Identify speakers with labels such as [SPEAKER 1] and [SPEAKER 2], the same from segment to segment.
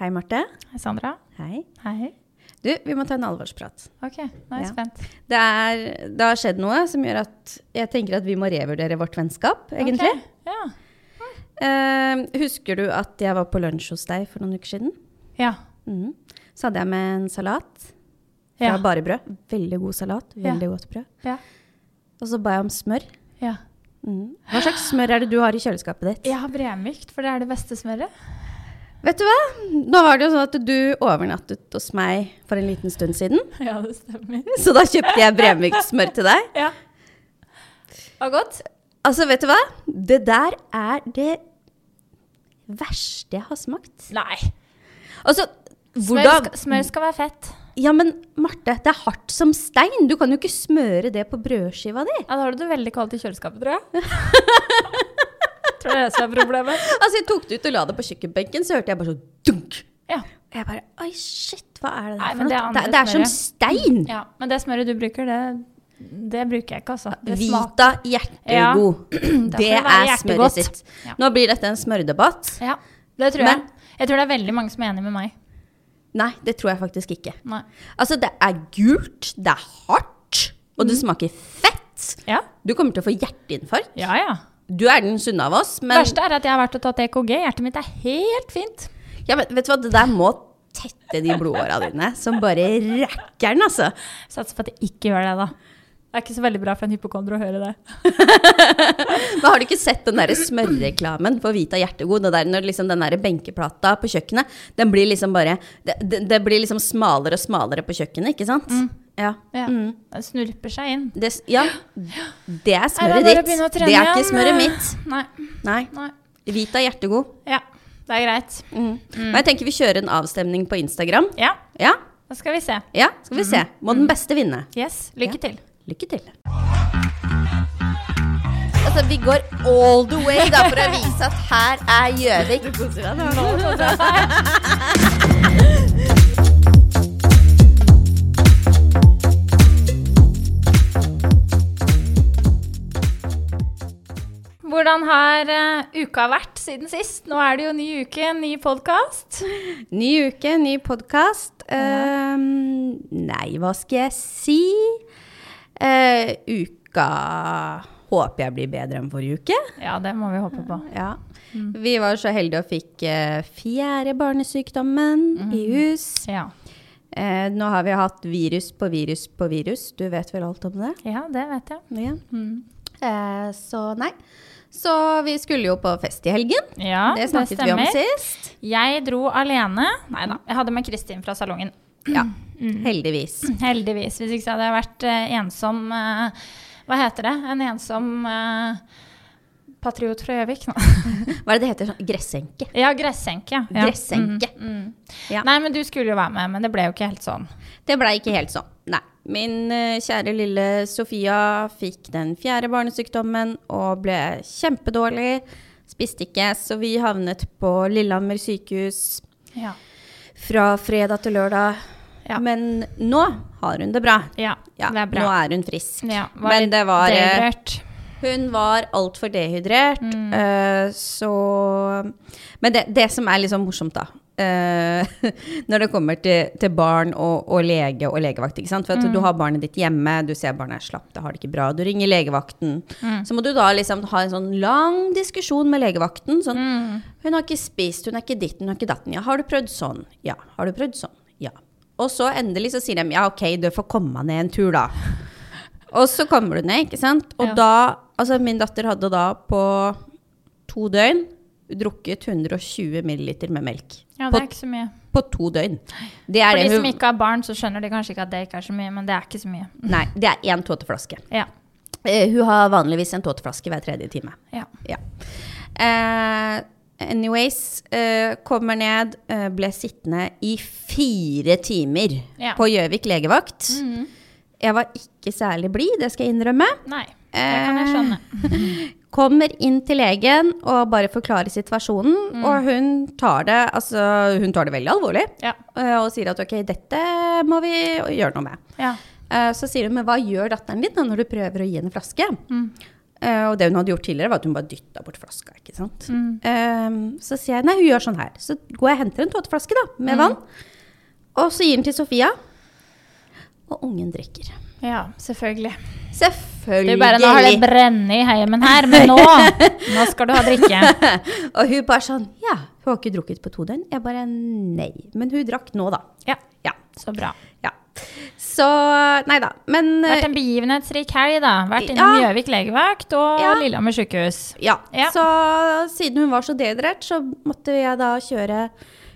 [SPEAKER 1] Hei, Marte.
[SPEAKER 2] Hei, Sandra.
[SPEAKER 1] Hei.
[SPEAKER 2] Hei.
[SPEAKER 1] Du, vi må ta en alvorsprat.
[SPEAKER 2] Ok, nå er jeg
[SPEAKER 1] Ja.
[SPEAKER 2] spent.
[SPEAKER 1] Det, er, det har skjedd noe som gjør at jeg tenker at vi må revurdere vårt vennskap, egentlig.
[SPEAKER 2] Ok, Ja.
[SPEAKER 1] Eh, husker du at jeg var på lunsj hos deg for noen uker siden?
[SPEAKER 2] Ja.
[SPEAKER 1] Mhm. Så hadde jeg med en salat fra
[SPEAKER 2] Ja.
[SPEAKER 1] bare brød. Veldig god salat,
[SPEAKER 2] Ja.
[SPEAKER 1] veldig godt brød.
[SPEAKER 2] Ja.
[SPEAKER 1] Og så ba jeg om smør.
[SPEAKER 2] ja.
[SPEAKER 1] Mhm. Hva slags smør er det du har i kjøleskapet ditt?
[SPEAKER 2] Jeg har bremykt, for det er det beste smøret.
[SPEAKER 1] Vet du hva? Nå var det jo sånn at du overnattet hos meg for en liten stund siden.
[SPEAKER 2] Ja, det stemmer.
[SPEAKER 1] Så da kjøpte jeg bremykt smør til deg.
[SPEAKER 2] Ja. Og godt.
[SPEAKER 1] Altså, vet du hva? Det der er det verste jeg har smakt.
[SPEAKER 2] Nei.
[SPEAKER 1] Altså,
[SPEAKER 2] Smør
[SPEAKER 1] hvordan
[SPEAKER 2] skal, smør skal være fett.
[SPEAKER 1] Ja, men Marte, det er hardt som stein. Du kan jo ikke smøre det på brødskiva di.
[SPEAKER 2] Ja, da har du det veldig kaldt i kjøleskapet, tror jeg. tror det er det som er problemet.
[SPEAKER 1] Altså, jeg tok det ut og la det på kjøkkenbenken, så hørte jeg bare sånn dunk.
[SPEAKER 2] Ja.
[SPEAKER 1] Og jeg bare Oi, shit, hva er det der
[SPEAKER 2] Nei,
[SPEAKER 1] for
[SPEAKER 2] men det er
[SPEAKER 1] noe? Det,
[SPEAKER 2] andre
[SPEAKER 1] er- det er som
[SPEAKER 2] smøret.
[SPEAKER 1] stein.
[SPEAKER 2] ja. Men det smøret du bruker, det, det bruker jeg ikke, altså. Det smaker.
[SPEAKER 1] Vita hjertegod.
[SPEAKER 2] Da får
[SPEAKER 1] Det
[SPEAKER 2] det være
[SPEAKER 1] er
[SPEAKER 2] hjertegodt.
[SPEAKER 1] smøret sitt.
[SPEAKER 2] Ja.
[SPEAKER 1] Nå blir dette en smørdebatt.
[SPEAKER 2] Ja, det tror jeg.
[SPEAKER 1] Men-
[SPEAKER 2] Jeg tror det er veldig mange som er enig med meg.
[SPEAKER 1] Nei, det tror jeg faktisk ikke.
[SPEAKER 2] Nei.
[SPEAKER 1] Altså, det er gult, det er hardt, og
[SPEAKER 2] Mhm.
[SPEAKER 1] det smaker fett.
[SPEAKER 2] Ja,
[SPEAKER 1] Du kommer til å få hjerteinfarkt.
[SPEAKER 2] ja. ja.
[SPEAKER 1] Du er den sunne av oss,
[SPEAKER 2] Det
[SPEAKER 1] men,
[SPEAKER 2] verste er at jeg har vært og tatt EKG. Hjertet mitt er helt fint.
[SPEAKER 1] ja, men vet du hva, det der må tette de blodåra dine, som bare rakkeren, altså.
[SPEAKER 2] Satser på at jeg ikke gjør det, da. Det er ikke så veldig bra for en hypokonder å høre det.
[SPEAKER 1] Men har du ikke sett den der smørreklamen for Vita Hjertegod? Det der når liksom den der benkeplata på kjøkkenet, den blir liksom bare Det, det, det blir liksom smalere og smalere på kjøkkenet, ikke sant? Ja.
[SPEAKER 2] Ja.
[SPEAKER 1] Mm.
[SPEAKER 2] Det snurper seg inn.
[SPEAKER 1] Det, ja. det er
[SPEAKER 2] Nei,
[SPEAKER 1] smøret
[SPEAKER 2] da er det
[SPEAKER 1] ditt.
[SPEAKER 2] bare å begynne å trene
[SPEAKER 1] Det er ikke
[SPEAKER 2] igjen.
[SPEAKER 1] smøret mitt.
[SPEAKER 2] Nei.
[SPEAKER 1] Nei.
[SPEAKER 2] Nei.
[SPEAKER 1] Vita Hjertegod.
[SPEAKER 2] Ja, det er greit.
[SPEAKER 1] Mm. Men jeg tenker vi kjører en avstemning på Instagram.
[SPEAKER 2] Ja,
[SPEAKER 1] Ja,
[SPEAKER 2] da skal vi se.
[SPEAKER 1] ja, skal vi se. Må den beste vinne.
[SPEAKER 2] Yes, lykke til.
[SPEAKER 1] Lykke til. Altså, vi går all the way da, for å vise at her er Gjøvik.
[SPEAKER 2] Hvordan har eh, uka vært siden sist? Nå er det jo ny uke, ny podkast.
[SPEAKER 1] Ny uke, ny podkast. Ehm, nei, hva skal jeg si? Eh, uka håper jeg blir bedre enn forrige uke.
[SPEAKER 2] Ja, det må vi håpe på.
[SPEAKER 1] Ja. Vi var så heldige og fikk eh, fjerde barnesykdommen i hus.
[SPEAKER 2] Ja,
[SPEAKER 1] Eh, nå har vi hatt virus på virus på virus. Du vet vel alt om det?
[SPEAKER 2] ja det vet jeg.
[SPEAKER 1] Ja.
[SPEAKER 2] Mm.
[SPEAKER 1] Eh, så nei. Så vi skulle jo på fest i helgen.
[SPEAKER 2] Ja,
[SPEAKER 1] det snakket vi om sist.
[SPEAKER 2] Jeg dro alene. Nei da, jeg hadde med Kristin fra salongen.
[SPEAKER 1] Ja, heldigvis.
[SPEAKER 2] Heldigvis. Hvis ikke så hadde jeg vært eh, ensom eh, Hva heter det? En ensom eh, patriot fra Gjøvik? nå.
[SPEAKER 1] Hva er det det heter? Sånn- Gressenke.
[SPEAKER 2] ja, gressenke. ja. Ja.
[SPEAKER 1] Gressenke.
[SPEAKER 2] Mm, mm.
[SPEAKER 1] Ja.
[SPEAKER 2] Nei, men du skulle jo være med, men det ble jo ikke helt sånn.
[SPEAKER 1] Det blei ikke helt sånn. Nei. Min eh, kjære lille Sofia fikk den fjerde barnesykdommen og ble kjempedårlig. Spiste ikke, så vi havnet på Lillehammer sykehus
[SPEAKER 2] Ja.
[SPEAKER 1] fra fredag til lørdag.
[SPEAKER 2] Ja.
[SPEAKER 1] Men nå har hun det bra.
[SPEAKER 2] ja,
[SPEAKER 1] Ja,
[SPEAKER 2] det er bra.
[SPEAKER 1] Nå er hun frisk.
[SPEAKER 2] ja, var
[SPEAKER 1] Men
[SPEAKER 2] litt
[SPEAKER 1] det var eh,
[SPEAKER 2] dehydrert. Mm.
[SPEAKER 1] Hun var altfor dehydrert, eh, så Men det, det som er litt sånn morsomt, da eh, Når det kommer til, til barn og, og lege og legevakt, ikke sant. For
[SPEAKER 2] Mm.
[SPEAKER 1] at du har barnet ditt hjemme, du ser barnet er slapt, det har det ikke bra. Du ringer legevakten.
[SPEAKER 2] Mm.
[SPEAKER 1] Så må du da liksom ha en sånn lang diskusjon med legevakten. Sånn
[SPEAKER 2] Mm.
[SPEAKER 1] Hun har ikke spist, hun er ikke ditten, hun er ikke datten. Ja, har du prøvd sånn? Ja. Har du prøvd sånn? Ja. Og så endelig så sier de ja, OK, du får komme ned en tur, da. Og så kommer du ned, ikke sant? Og
[SPEAKER 2] Ja.
[SPEAKER 1] da Altså, min datter hadde da på to døgn drukket 120 milliliter med melk.
[SPEAKER 2] Ja, det
[SPEAKER 1] på,
[SPEAKER 2] er ikke så mye.
[SPEAKER 1] på to døgn. Det er
[SPEAKER 2] For de
[SPEAKER 1] det
[SPEAKER 2] som
[SPEAKER 1] hun
[SPEAKER 2] ikke har barn, så skjønner de kanskje ikke at det ikke er så mye, men det er ikke så mye.
[SPEAKER 1] Nei, det er én tåteflaske.
[SPEAKER 2] Ja.
[SPEAKER 1] Eh, hun har vanligvis en tåteflaske hver tredje time.
[SPEAKER 2] ja.
[SPEAKER 1] Ja. Eh, anyways, eh, kommer ned, eh, ble sittende i fire timer
[SPEAKER 2] Ja. Mm.
[SPEAKER 1] på Gjøvik legevakt. Jeg var ikke særlig blid, det skal jeg innrømme.
[SPEAKER 2] Nei, det kan jeg
[SPEAKER 1] Eh,
[SPEAKER 2] skjønne.
[SPEAKER 1] Kommer inn til legen og bare forklarer situasjonen,
[SPEAKER 2] Mm.
[SPEAKER 1] og hun tar det, altså, hun tar det veldig alvorlig.
[SPEAKER 2] Ja.
[SPEAKER 1] eh, Og sier at ok, dette må vi gjøre noe med.
[SPEAKER 2] ja.
[SPEAKER 1] Eh, Så sier hun, men hva gjør datteren din da når du prøver å gi henne flaske?
[SPEAKER 2] Mm.
[SPEAKER 1] Eh, Eh, og det hun hadde gjort tidligere, var at hun bare dytta bort flaska. ikke sant?
[SPEAKER 2] Mm.
[SPEAKER 1] Eh, så sier jeg nei, hun gjør sånn her. Så går jeg og henter en tåteflaske da,
[SPEAKER 2] Mm.
[SPEAKER 1] med vann. Og så gir den til Sofia. Og ungen drikker.
[SPEAKER 2] Ja, selvfølgelig. Du
[SPEAKER 1] Selvfølgelig.
[SPEAKER 2] bare, nå har det brenne i heimen her, men nå, nå skal du ha drikke.
[SPEAKER 1] og hun bare sånn Ja, hun har ikke drukket på to døgn. Jeg bare nei. Men hun drakk nå, da.
[SPEAKER 2] Ja,
[SPEAKER 1] Ja.
[SPEAKER 2] så bra.
[SPEAKER 1] ja. Så Nei da. Men eh,
[SPEAKER 2] Vært en begivenhetsrik helg, da. Vært innom
[SPEAKER 1] Ja.
[SPEAKER 2] Gjøvik legevakt og
[SPEAKER 1] Ja.
[SPEAKER 2] Lillehammer sykehus.
[SPEAKER 1] Ja.
[SPEAKER 2] Ja.
[SPEAKER 1] Så siden hun var så dehydrert, så måtte jeg da kjøre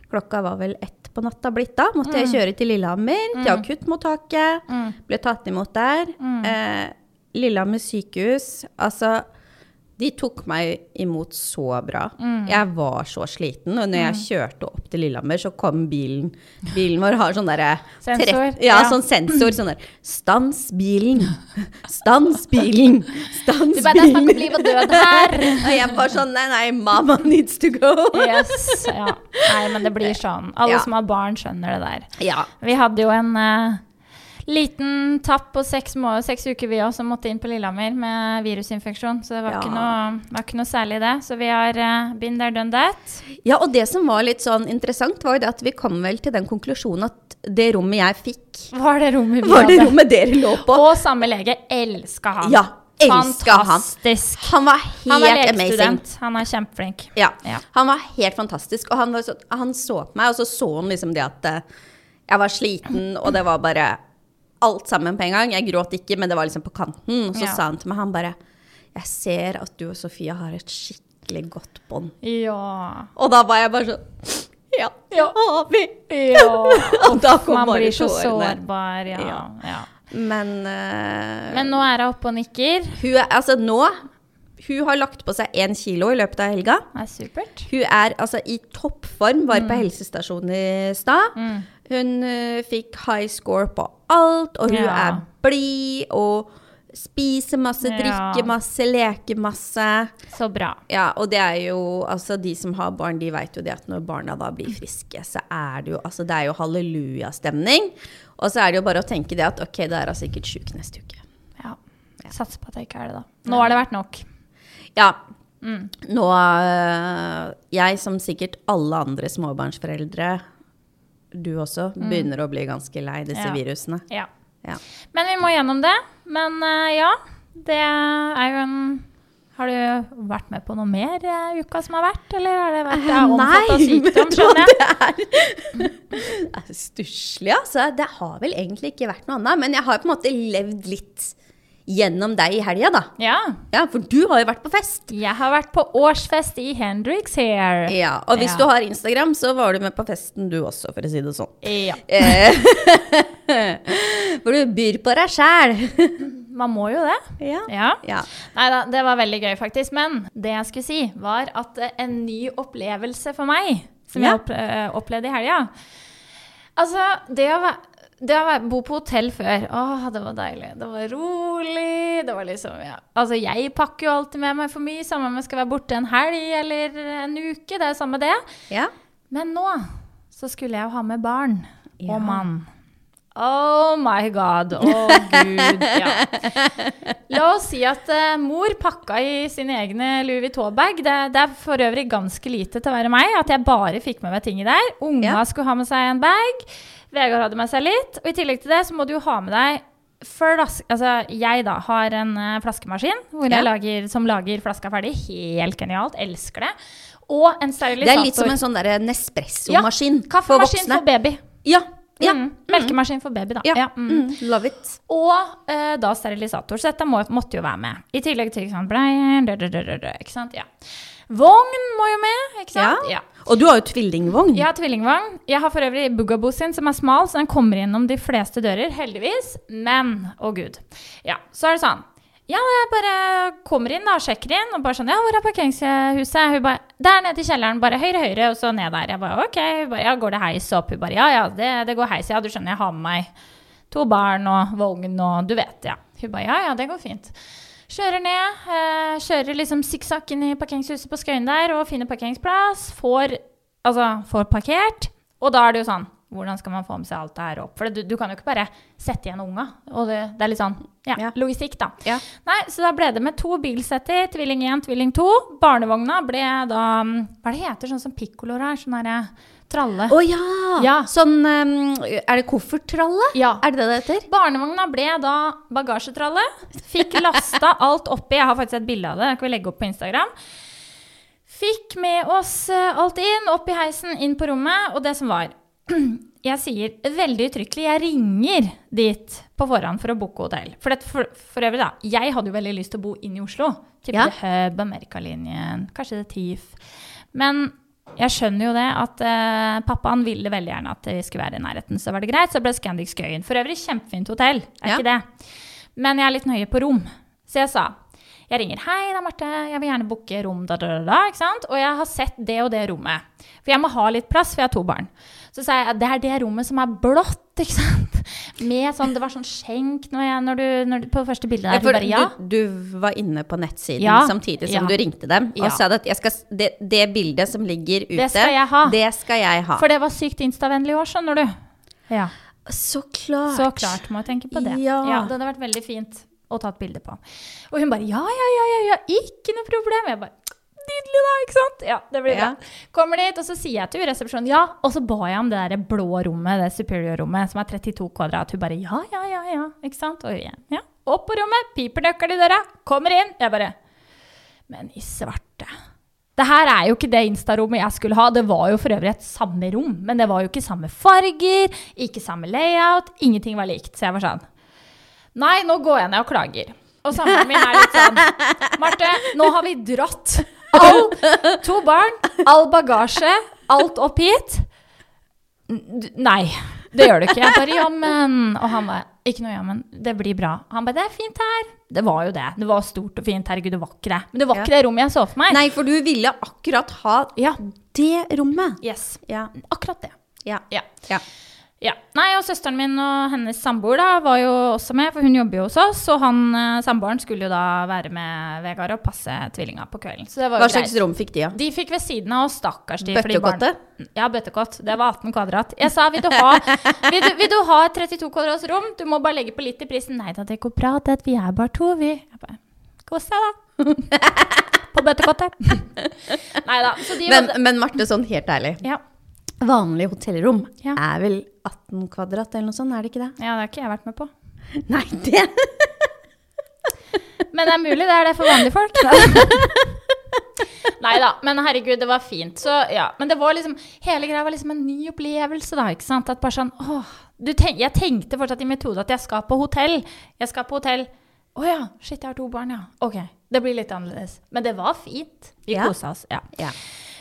[SPEAKER 1] Klokka var vel ett på natta blitt da. Måtte jeg kjøre til Lillehammer, til akuttmottaket.
[SPEAKER 2] Mm.
[SPEAKER 1] Ble tatt imot der. Eh, Lillehammer sykehus. Altså de tok meg imot så bra.
[SPEAKER 2] Mm.
[SPEAKER 1] Jeg var så sliten. Og når jeg kjørte opp til Lillehammer, så kom bilen. Bilen vår har sånn derre
[SPEAKER 2] Sensor,
[SPEAKER 1] trett- Ja,
[SPEAKER 2] ja.
[SPEAKER 1] sånn sensor. Sånn der Stans bilen! Stans bilen! Stans
[SPEAKER 2] Du bare, det er snakk
[SPEAKER 1] bilen!
[SPEAKER 2] om liv og død her.
[SPEAKER 1] Og jeg bare sånn Nei, nei, mama needs to go.
[SPEAKER 2] Yes, ja. Nei, men det blir sånn. Alle
[SPEAKER 1] Ja.
[SPEAKER 2] som har barn, skjønner det der.
[SPEAKER 1] Ja.
[SPEAKER 2] Vi hadde jo en eh, liten tapp på seks, må seks uker, vi òg, som måtte inn på Lillehammer med virusinfeksjon. Så det var,
[SPEAKER 1] Ja.
[SPEAKER 2] ikke, noe, var ikke noe særlig, det. Så vi har eh, been there, done that.
[SPEAKER 1] ja, og det som var litt sånn interessant, var jo det at vi kom vel til den konklusjonen at det rommet jeg fikk,
[SPEAKER 2] Var det rommet vi
[SPEAKER 1] var det
[SPEAKER 2] hadde?
[SPEAKER 1] rommet dere lå på.
[SPEAKER 2] Og samme lege. Elska han.
[SPEAKER 1] Ja, elska han.
[SPEAKER 2] Fantastisk.
[SPEAKER 1] Han var
[SPEAKER 2] Han er
[SPEAKER 1] helt amazing.
[SPEAKER 2] legestudent. Han er kjempeflink.
[SPEAKER 1] Ja.
[SPEAKER 2] Ja.
[SPEAKER 1] Han var helt fantastisk, og han, var så, han så på meg, og så så han liksom det at eh, jeg var sliten, og det var bare alt sammen på en gang. Jeg gråt ikke, men det var liksom på kanten. Og så
[SPEAKER 2] Ja.
[SPEAKER 1] sa han til meg, han bare Jeg ser at du og Sofia har et skikkelig godt bånd.
[SPEAKER 2] Ja.
[SPEAKER 1] Og da var jeg bare sånn Ja, det
[SPEAKER 2] Ja.
[SPEAKER 1] har vi!
[SPEAKER 2] ja.
[SPEAKER 1] Og da kom
[SPEAKER 2] Man
[SPEAKER 1] bare
[SPEAKER 2] blir så
[SPEAKER 1] tårene.
[SPEAKER 2] sårbar, ja. ja.
[SPEAKER 1] Ja. Men, eh,
[SPEAKER 2] Men nå er hun oppe og nikker.
[SPEAKER 1] hun er Altså, nå Hun har lagt på seg én kilo i løpet av helga.
[SPEAKER 2] Det er supert.
[SPEAKER 1] Hun er altså i toppform, var på helsestasjonen i stad. Hun eh, fikk high score på alt, og hun
[SPEAKER 2] Ja.
[SPEAKER 1] er blid og spiser masse,
[SPEAKER 2] Ja.
[SPEAKER 1] drikker masse, leker masse.
[SPEAKER 2] Så bra.
[SPEAKER 1] Ja, og det er jo Altså, de som har barn, de vet jo det at når barna da blir friske, så er det jo Altså, det er jo hallelujastemning. Og så er det jo bare å tenke det at OK, da er hun sikkert sjuk neste uke.
[SPEAKER 2] Ja. Satser på at jeg ikke er det, da. Nå har det vært nok.
[SPEAKER 1] Ja. Nå øh, Jeg, som sikkert alle andre småbarnsforeldre, du også, begynner å bli ganske lei disse
[SPEAKER 2] Ja.
[SPEAKER 1] virusene.
[SPEAKER 2] Ja.
[SPEAKER 1] Ja.
[SPEAKER 2] Men vi må gjennom det. Men eh, ja, det er jo en har du vært med på noe mer eh, uka som har vært, eller har det
[SPEAKER 1] Eh,
[SPEAKER 2] vært det er omfattet av sykdom, skjønner jeg?
[SPEAKER 1] Det er stusslig, altså. Det har vel egentlig ikke vært noe annet. Men jeg har på en måte levd litt gjennom deg i helga, da.
[SPEAKER 2] Ja.
[SPEAKER 1] Ja, for du har jo vært på fest.
[SPEAKER 2] Jeg har vært på årsfest i Hendrix her.
[SPEAKER 1] Ja, Og hvis
[SPEAKER 2] Ja.
[SPEAKER 1] du har Instagram, så var du med på festen du også, for å si det sånn.
[SPEAKER 2] Ja.
[SPEAKER 1] Eh, for du byr på deg sjæl.
[SPEAKER 2] Man må jo det.
[SPEAKER 1] Ja.
[SPEAKER 2] Ja.
[SPEAKER 1] ja.
[SPEAKER 2] Nei da, det var veldig gøy, faktisk. Men det jeg skulle si, var at eh, en ny opplevelse for meg, som
[SPEAKER 1] Ja.
[SPEAKER 2] jeg opp, eh, opplevde i helga Altså, det å, væ- det å væ- bo på hotell før, åh, det var deilig. Det var rolig. Det var liksom, ja. Altså, jeg pakker jo alltid med meg for mye, samme om jeg skal være borte en helg eller en uke. Det er jo samme det.
[SPEAKER 1] ja.
[SPEAKER 2] Men nå så skulle jeg jo ha med barn
[SPEAKER 1] Ja.
[SPEAKER 2] og mann. Oh my god. Å gud. Ja. La oss si at eh, mor pakka i sine egne Louis Vuitton-bag. Det, det er for øvrig ganske lite til å være meg, at jeg bare fikk med meg ting i der. Unga
[SPEAKER 1] Ja.
[SPEAKER 2] skulle ha med seg en bag. Vegard hadde med seg litt. Og i tillegg til det så må du jo ha med deg flaske... Altså, jeg da har en eh, flaskemaskin hvor
[SPEAKER 1] Ja.
[SPEAKER 2] jeg lager, som lager flaska ferdig. Helt genialt. Elsker det. Og en sterilisator.
[SPEAKER 1] Det er litt som en sånn der Nespresso-maskin
[SPEAKER 2] Ja,
[SPEAKER 1] for
[SPEAKER 2] kaffemaskin
[SPEAKER 1] voksne.
[SPEAKER 2] for baby.
[SPEAKER 1] Ja. ja.
[SPEAKER 2] Mm. Melkemaskin for baby, da.
[SPEAKER 1] ja.
[SPEAKER 2] Ja, mm.
[SPEAKER 1] Mm. Love it.
[SPEAKER 2] Og eh, da sterilisator, så dette må, måtte jo være med. I tillegg til ikke sant, bleier, dø, dø, dø, dø, dø, ikke sant? Ja. Vogn må jo med, ikke
[SPEAKER 1] Ja.
[SPEAKER 2] sant? Ja.
[SPEAKER 1] Og du har jo tvillingvogn.
[SPEAKER 2] Jeg har tvillingvogn. Jeg har for øvrig Bugaboo sin, som er smal, så den kommer gjennom de fleste dører, heldigvis. Men, å gud. Ja, så er det sånn. Ja, jeg bare kommer inn da, sjekker inn, og bare sånn, ja, hvor er parkeringshuset? Hun bare, der nede i kjelleren, bare høyre, høyre, og så ned der. Jeg bare, ok, hun bare, ja, går det heis opp? Hun bare, ja, ja, det, det går heis, ja, du skjønner, jeg har med meg to barn og vogn og du vet, ja. Hun bare, ja, ja, det går fint. Kjører ned, eh, kjører liksom sikksakk inn i parkeringshuset på Skøyen der og finner parkeringsplass, får, altså, får parkert, og da er det jo sånn, Hvordan skal man få med seg alt det her opp? For det, du, du kan jo ikke bare sette igjen unga. Og det, det er litt sånn ja,
[SPEAKER 1] Ja.
[SPEAKER 2] logistikk, da.
[SPEAKER 1] Ja.
[SPEAKER 2] Nei, så da ble det med to bilsetter, tvilling 1, tvilling 2. Barnevogna ble da mm, Hva er det heter sånn som pikkoloer er? Sånn derre tralle.
[SPEAKER 1] Å ja.
[SPEAKER 2] Ja.
[SPEAKER 1] Sånn um, Er det kofferttralle?
[SPEAKER 2] Ja.
[SPEAKER 1] Er det det det heter?
[SPEAKER 2] Barnevogna ble da bagasjetralle. Fikk lasta alt oppi. Jeg har faktisk et bilde av det. Det kan vi legge opp på Instagram. Fikk med oss eh, alt inn, opp i heisen, inn på rommet. Og det som var Jeg sier veldig uttrykkelig jeg ringer dit på forhånd for å booke hotell. For, det, for, for øvrig, da. Jeg hadde jo veldig lyst til å bo inn i Oslo. Type
[SPEAKER 1] Ja.
[SPEAKER 2] The Hub, Amerikalinjen, kanskje The Thief. Men jeg skjønner jo det at eh, pappaen ville veldig gjerne at vi skulle være i nærheten. Så var det greit, så ble Scandic Skøyen. For øvrig kjempefint hotell, er
[SPEAKER 1] Ja.
[SPEAKER 2] ikke det. Men jeg er litt nøye på rom. Så jeg sa jeg ringer. 'Hei, det er Marte. Jeg vil gjerne booke rom.' Da, da, da, da, ikke sant? Og jeg har sett det og det rommet. For jeg må ha litt plass, for jeg har to barn. Så sa jeg det er det rommet som er blått, ikke sant? Med sånn, Det var sånn skjenk når jeg, når du, når du, på første bildet der.
[SPEAKER 1] For
[SPEAKER 2] du bare, ja.
[SPEAKER 1] du, du var inne på nettsiden
[SPEAKER 2] Ja.
[SPEAKER 1] samtidig som
[SPEAKER 2] Ja.
[SPEAKER 1] du ringte dem og
[SPEAKER 2] Ja.
[SPEAKER 1] sa at jeg skal, s- det, det bildet som ligger ute,
[SPEAKER 2] skal jeg ha.
[SPEAKER 1] det skal jeg ha.
[SPEAKER 2] For det var sykt instavennlig i år, skjønner du. Ja.
[SPEAKER 1] så klart.
[SPEAKER 2] Så klart må jeg tenke på det.
[SPEAKER 1] Ja.
[SPEAKER 2] det hadde vært veldig fint å ta et bilde på. Og hun bare ja, ja, ja, ja, ja, ikke noe problem. Jeg bare nydelig, da, ikke sant? Ja, det blir
[SPEAKER 1] Ja.
[SPEAKER 2] bra. Kommer dit, og så sier jeg til resepsjonen ja, og så ba jeg om det der blå rommet, det superior-rommet som er 32 kvadrat. Hun bare ja, ja, ja, ja, ikke sant? Og igjen, ja. Opp på rommet, piper nøkkelen i døra, kommer inn. Jeg bare Men i svarte. Det her er jo ikke det Insta-rommet jeg skulle ha. Det var jo for øvrig et samme rom, men det var jo ikke samme farger, ikke samme layout, ingenting var likt. Så jeg var sånn Nei, nå går jeg ned og klager. Og samboeren min er litt sånn Marte, nå har vi dratt all To barn, all bagasje, alt opp hit. N- d- Nei, det gjør du ikke. Jeg bare jammen. Og han bare ikke noe jammen, det blir bra. Han bare det er fint her. Det var jo det. Det var stort og fint. Herregud, det var ikke det. Men det var
[SPEAKER 1] Ja.
[SPEAKER 2] ikke det rommet jeg så for meg.
[SPEAKER 1] Nei, for du ville akkurat ha
[SPEAKER 2] Ja.
[SPEAKER 1] det rommet.
[SPEAKER 2] Yes.
[SPEAKER 1] Ja.
[SPEAKER 2] Akkurat det.
[SPEAKER 1] Ja.
[SPEAKER 2] Ja.
[SPEAKER 1] Ja.
[SPEAKER 2] Ja. Nei, og søsteren min og hennes samboer da var jo også med, for hun jobber jo hos oss. Og han eh, samboeren skulle jo da være med Vegard og passe tvillinga på kvelden. Så det var
[SPEAKER 1] Hva
[SPEAKER 2] jo
[SPEAKER 1] slags
[SPEAKER 2] greit.
[SPEAKER 1] rom fikk de, da?
[SPEAKER 2] De fikk ved siden av oss, stakkars de. fordi barn-
[SPEAKER 1] Bøttekottet?
[SPEAKER 2] Ja, bøttekott. Det var 18 kvadrat. Jeg sa vil du ha, vil du, vil du ha et 32 kvadrats rom? Du må bare legge på litt i prisen. Nei da, det går bra. Det, vi er bare to, vi. Jeg bare, Kos deg, da. på bøttekottet. Nei da. Så de
[SPEAKER 1] Men,
[SPEAKER 2] hadde-
[SPEAKER 1] men Marte, sånn helt ærlig.
[SPEAKER 2] ja.
[SPEAKER 1] Vanlig hotellrom
[SPEAKER 2] Ja.
[SPEAKER 1] er vel 18 kvadrat eller noe sånt, er det ikke det?
[SPEAKER 2] ja, det har ikke jeg vært med på.
[SPEAKER 1] Nei, det
[SPEAKER 2] Men det er mulig det er det for vanlige folk. Nei da, men herregud, det var fint. Så, ja. Men det var liksom, hele greia var liksom en ny opplevelse, da. ikke sant? At bare sånn, åh, du tenk, Jeg tenkte fortsatt i metode at jeg skal på hotell. Jeg skal på hotell. Å ja, shit, jeg har to barn, ja. Ok, det blir litt annerledes. Men det var fint. Vi
[SPEAKER 1] Ja.
[SPEAKER 2] kosa oss. ja.
[SPEAKER 1] ja.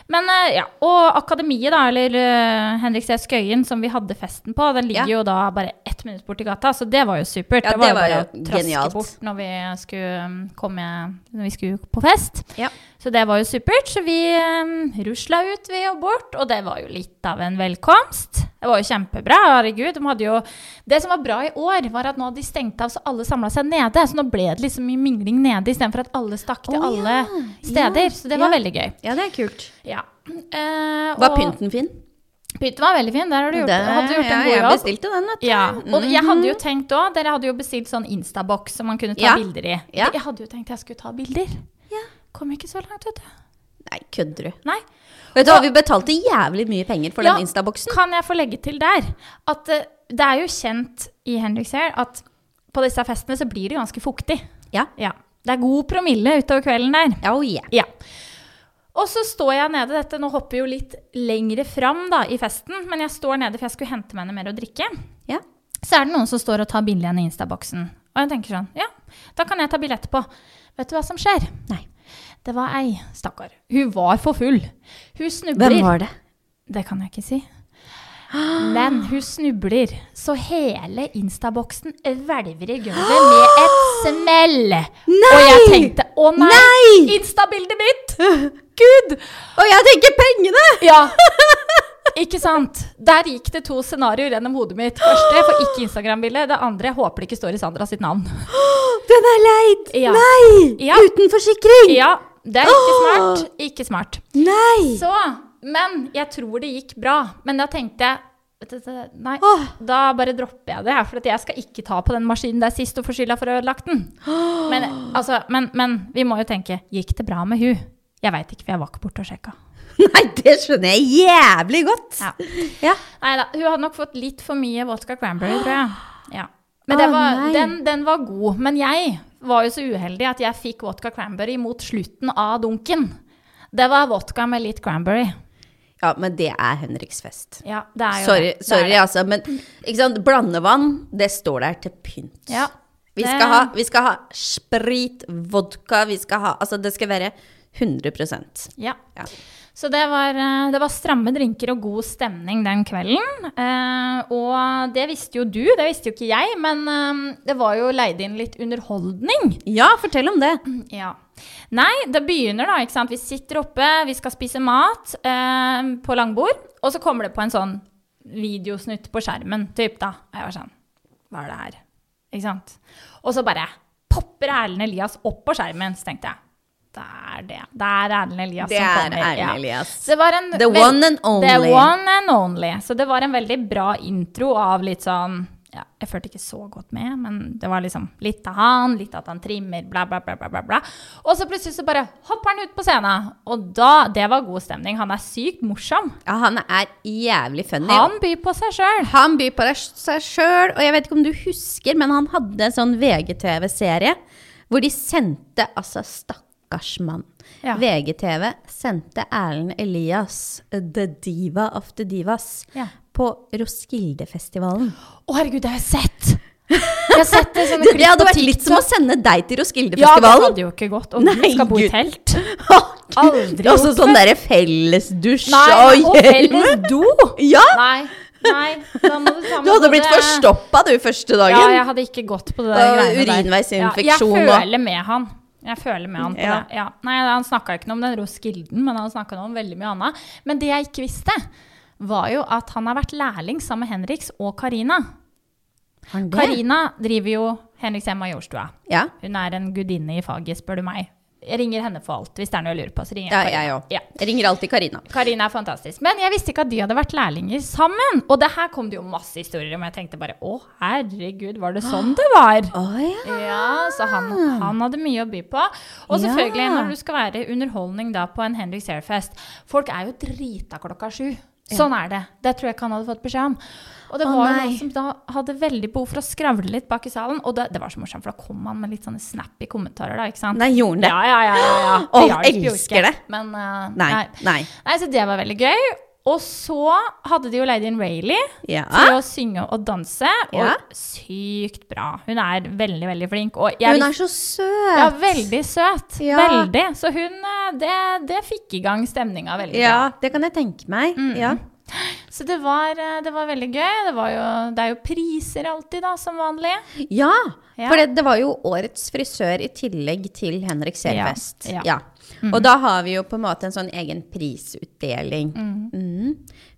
[SPEAKER 2] Men eh, ja, Og Akademiet, da, eller eh, Henrik C. Skøyen, som vi hadde festen på, den ligger
[SPEAKER 1] Ja.
[SPEAKER 2] jo da bare ett minutt borti gata, så det var jo supert.
[SPEAKER 1] Ja, det
[SPEAKER 2] jo
[SPEAKER 1] var
[SPEAKER 2] bare
[SPEAKER 1] jo
[SPEAKER 2] å traske
[SPEAKER 1] genialt.
[SPEAKER 2] bort når vi skulle um, komme Når vi skulle på fest.
[SPEAKER 1] Ja.
[SPEAKER 2] Så det var jo supert. Så vi um, rusla ut, vi, og bort. Og det var jo litt av en velkomst. Det var jo kjempebra. Herregud. De hadde jo Det som var bra i år, var at nå hadde de stengt av, så alle samla seg nede. Så nå ble det liksom mye mingling nede, istedenfor at alle stakk til
[SPEAKER 1] Å, ja.
[SPEAKER 2] alle steder.
[SPEAKER 1] Ja.
[SPEAKER 2] Så det var
[SPEAKER 1] Ja.
[SPEAKER 2] veldig gøy.
[SPEAKER 1] ja, det er kult.
[SPEAKER 2] Ja. Eh,
[SPEAKER 1] Var
[SPEAKER 2] og-
[SPEAKER 1] pynten fin?
[SPEAKER 2] Pynten var veldig fin. Der har du gjort, hadde du gjort en
[SPEAKER 1] ja, jeg
[SPEAKER 2] god jobb.
[SPEAKER 1] bestilte den, vet du.
[SPEAKER 2] Ja, og jeg hadde jo tenkt også, Dere hadde jo bestilt sånn Instabox som man kunne ta
[SPEAKER 1] Ja.
[SPEAKER 2] bilder i.
[SPEAKER 1] Ja.
[SPEAKER 2] Jeg hadde jo tenkt jeg skulle ta bilder.
[SPEAKER 1] Ja.
[SPEAKER 2] Kom ikke så langt, vet du.
[SPEAKER 1] Nei, kødder du.
[SPEAKER 2] Nei.
[SPEAKER 1] Vet du hva, vi betalte jævlig mye penger for
[SPEAKER 2] Ja.
[SPEAKER 1] den Instaboksen.
[SPEAKER 2] Kan jeg få legge til der at eh, det er jo kjent i Henriks her at på disse festene så blir det ganske fuktig.
[SPEAKER 1] Ja.
[SPEAKER 2] Ja. Det er god promille utover kvelden der.
[SPEAKER 1] Oh, yeah.
[SPEAKER 2] Ja. Og så står jeg nede, dette nå hopper jeg jo litt lengre fram da, i festen, men jeg står nede for jeg skulle hente meg noe mer å drikke.
[SPEAKER 1] Ja.
[SPEAKER 2] Så er det noen som står og tar bilde igjen i Insta-boksen. Og jeg tenker sånn, ja, da kan jeg ta bilde etterpå. Vet du hva som skjer?
[SPEAKER 1] Nei.
[SPEAKER 2] Det var ei, stakkar. Hun var for full. Hun snubler.
[SPEAKER 1] Hvem var det?
[SPEAKER 2] Det kan jeg ikke si. Men hun snubler, så hele Insta-boksen hvelver i gulvet med et smell. Og jeg
[SPEAKER 1] Nei!
[SPEAKER 2] tenkte å nei,
[SPEAKER 1] Nei!
[SPEAKER 2] Insta-bildet mitt! Gud!
[SPEAKER 1] Og jeg tenker pengene!
[SPEAKER 2] Ja. Ikke sant? Der gikk det to scenarioer gjennom hodet mitt. Første får ikke Instagram-bildet. Det andre jeg håper det ikke står i Sandra sitt navn.
[SPEAKER 1] Den er leid!
[SPEAKER 2] Ja.
[SPEAKER 1] Nei!
[SPEAKER 2] Ja.
[SPEAKER 1] Uten forsikring!
[SPEAKER 2] Ja, det er ikke smart. Ikke smart.
[SPEAKER 1] Nei!
[SPEAKER 2] Så, men jeg tror det gikk bra. Men da tenkte jeg vet du, det- Nei,
[SPEAKER 1] Åh.
[SPEAKER 2] da bare dropper jeg det her, for at jeg skal ikke ta på den maskinen der sist og få skylda for å ha ødelagt den. Men, altså, men, men vi må jo tenke Gikk det bra med hun? Jeg veit ikke, for jeg var ikke borte og sjekka.
[SPEAKER 1] Nei, det skjønner jeg jævlig godt!
[SPEAKER 2] Ja.
[SPEAKER 1] Ja.
[SPEAKER 2] Nei da, hun hadde nok fått litt for mye vodka cranberry, tror jeg. Ja. Men det
[SPEAKER 1] Å,
[SPEAKER 2] var,
[SPEAKER 1] nei.
[SPEAKER 2] den, den var god. Men jeg var jo så uheldig at jeg fikk vodka cranberry mot slutten av dunken. Det var vodka med litt cranberry.
[SPEAKER 1] ja, men det er Henriks fest.
[SPEAKER 2] Ja, det er jo
[SPEAKER 1] Sorry,
[SPEAKER 2] det. Det er
[SPEAKER 1] sorry
[SPEAKER 2] det.
[SPEAKER 1] altså, men ikke sant? blandevann, det står der til pynt.
[SPEAKER 2] Ja.
[SPEAKER 1] Vi
[SPEAKER 2] Det-
[SPEAKER 1] skal, ha, vi skal ha sprit, vodka, vi skal ha Altså, det skal være 100
[SPEAKER 2] Ja.
[SPEAKER 1] Ja.
[SPEAKER 2] Så det var, eh, det var stramme drinker og god stemning den kvelden. Eh, og det visste jo du, det visste jo ikke jeg, men eh, det var jo leid inn litt underholdning.
[SPEAKER 1] Ja, fortell om det.
[SPEAKER 2] Ja. Nei, det begynner da, ikke sant. Vi sitter oppe, vi skal spise mat eh, på langbord, og så kommer det på en sånn videosnutt på skjermen, typ da. Og jeg var sånn, hva er det her? Ikke sant? Og så bare popper Erlend Elias opp på skjermen, så tenkte jeg. Det er det. Det er Erlend Elias
[SPEAKER 1] Det
[SPEAKER 2] som
[SPEAKER 1] er
[SPEAKER 2] kommer.
[SPEAKER 1] Erlend
[SPEAKER 2] ja.
[SPEAKER 1] Elias.
[SPEAKER 2] Så det var en
[SPEAKER 1] The
[SPEAKER 2] vel-
[SPEAKER 1] one and only.
[SPEAKER 2] The one and only. Så det var en veldig bra intro av litt sånn ja, Jeg følte ikke så godt med, men det var liksom litt av han, litt at han trimmer, bla, bla, bla. bla, bla, bla. Og så plutselig så bare hopper han ut på scenen. Og da Det var god stemning. Han er sykt morsom.
[SPEAKER 1] Ja, han er jævlig funny.
[SPEAKER 2] Han byr på seg sjøl.
[SPEAKER 1] Han byr på deg- seg sjøl, og jeg vet ikke om du husker, men han hadde en sånn VGTV-serie hvor de sendte altså Stakkars mann.
[SPEAKER 2] Ja.
[SPEAKER 1] VGTV sendte Erlend Elias, eh, The Diva of the Divas,
[SPEAKER 2] Ja.
[SPEAKER 1] på Roskildefestivalen.
[SPEAKER 2] Å, herregud, det har jeg sett! Jeg har sett det som
[SPEAKER 1] Det,
[SPEAKER 2] et
[SPEAKER 1] det
[SPEAKER 2] klipp
[SPEAKER 1] hadde
[SPEAKER 2] på
[SPEAKER 1] vært litt som å
[SPEAKER 2] TikTok.
[SPEAKER 1] sende deg til
[SPEAKER 2] Ja, det
[SPEAKER 1] Roskildefestivalen.
[SPEAKER 2] hadde jo ikke gått. Og du
[SPEAKER 1] Nei,
[SPEAKER 2] skal bo i
[SPEAKER 1] Gud.
[SPEAKER 2] telt. Aldri
[SPEAKER 1] Og så
[SPEAKER 2] gjort
[SPEAKER 1] sånn derre fellesdusj
[SPEAKER 2] Nei,
[SPEAKER 1] og
[SPEAKER 2] og
[SPEAKER 1] hjelm. Oh,
[SPEAKER 2] felles do!
[SPEAKER 1] Ja!
[SPEAKER 2] Nei, nei, da må du ta med
[SPEAKER 1] Du hadde
[SPEAKER 2] både-
[SPEAKER 1] blitt forstoppa du første dagen.
[SPEAKER 2] Ja, jeg hadde ikke gått på det der
[SPEAKER 1] Og
[SPEAKER 2] greiene der.
[SPEAKER 1] urinveisinfeksjon
[SPEAKER 2] Ja,
[SPEAKER 1] og-
[SPEAKER 2] jeg føler med han. Jeg føler med han på
[SPEAKER 1] Ja.
[SPEAKER 2] det. Ja. Nei, han snakka ikke noe om den Roskilden, men han snakka om veldig mye annet. Men det jeg ikke visste, var jo at han har vært lærling sammen med Henriks og Karina.
[SPEAKER 1] Har han det?
[SPEAKER 2] Karina driver jo Henriks Hjem Majorstua.
[SPEAKER 1] Ja.
[SPEAKER 2] Hun er en gudinne i faget, spør du meg. Jeg ringer henne for alt. Hvis det er noe jeg lurer på, så ringer jeg
[SPEAKER 1] Ja,
[SPEAKER 2] Karina.
[SPEAKER 1] jeg òg.
[SPEAKER 2] Ja.
[SPEAKER 1] Jeg ringer alltid Karina.
[SPEAKER 2] Karina er fantastisk. Men jeg visste ikke at de hadde vært lærlinger sammen. Og det her kom det jo masse historier om. Jeg tenkte bare å herregud, var det sånn det var?
[SPEAKER 1] Å ja.
[SPEAKER 2] Ja, så han, han hadde mye å by på. Og
[SPEAKER 1] Ja.
[SPEAKER 2] selvfølgelig, når du skal være underholdning da på en Henrik Searfest Folk er jo drita klokka sju. Sånn er det. Det tror jeg ikke han hadde fått beskjed om. Og det
[SPEAKER 1] Å,
[SPEAKER 2] var jo
[SPEAKER 1] nei.
[SPEAKER 2] noen som da hadde veldig behov for å skravle litt bak i salen. Og det, det var så morsomt, for da kom han med litt sånne snappy kommentarer, da, ikke sant?
[SPEAKER 1] Nei, gjorde han det?
[SPEAKER 2] Ja, ja, ja. ja, ja.
[SPEAKER 1] Å,
[SPEAKER 2] Det hjalp jo
[SPEAKER 1] elsker
[SPEAKER 2] ikke.
[SPEAKER 1] det.
[SPEAKER 2] Men eh,
[SPEAKER 1] Nei.
[SPEAKER 2] nei.
[SPEAKER 1] Nei.
[SPEAKER 2] Nei, så det var veldig gøy. Og så hadde de jo leid inn Rayleigh
[SPEAKER 1] Ja.
[SPEAKER 2] til å synge og danse, og
[SPEAKER 1] Ja.
[SPEAKER 2] sykt bra. Hun er veldig, veldig flink. Og jeg
[SPEAKER 1] Hun
[SPEAKER 2] visste-
[SPEAKER 1] er så søt.
[SPEAKER 2] ja, veldig søt.
[SPEAKER 1] Ja.
[SPEAKER 2] Veldig. Så hun eh, Det, det fikk i gang stemninga veldig
[SPEAKER 1] Ja,
[SPEAKER 2] bra. Mm.
[SPEAKER 1] det kan jeg tenke meg. Ja.
[SPEAKER 2] Så det var, eh, det var veldig gøy. Det, var jo, det er jo priser alltid, da, som vanlig.
[SPEAKER 1] ja,
[SPEAKER 2] Ja.
[SPEAKER 1] for det, det var jo årets frisør i tillegg til Henrik Selfest.
[SPEAKER 2] Ja, Mm. ja.
[SPEAKER 1] Og da har vi jo på en måte en sånn egen prisutdeling. Mhm.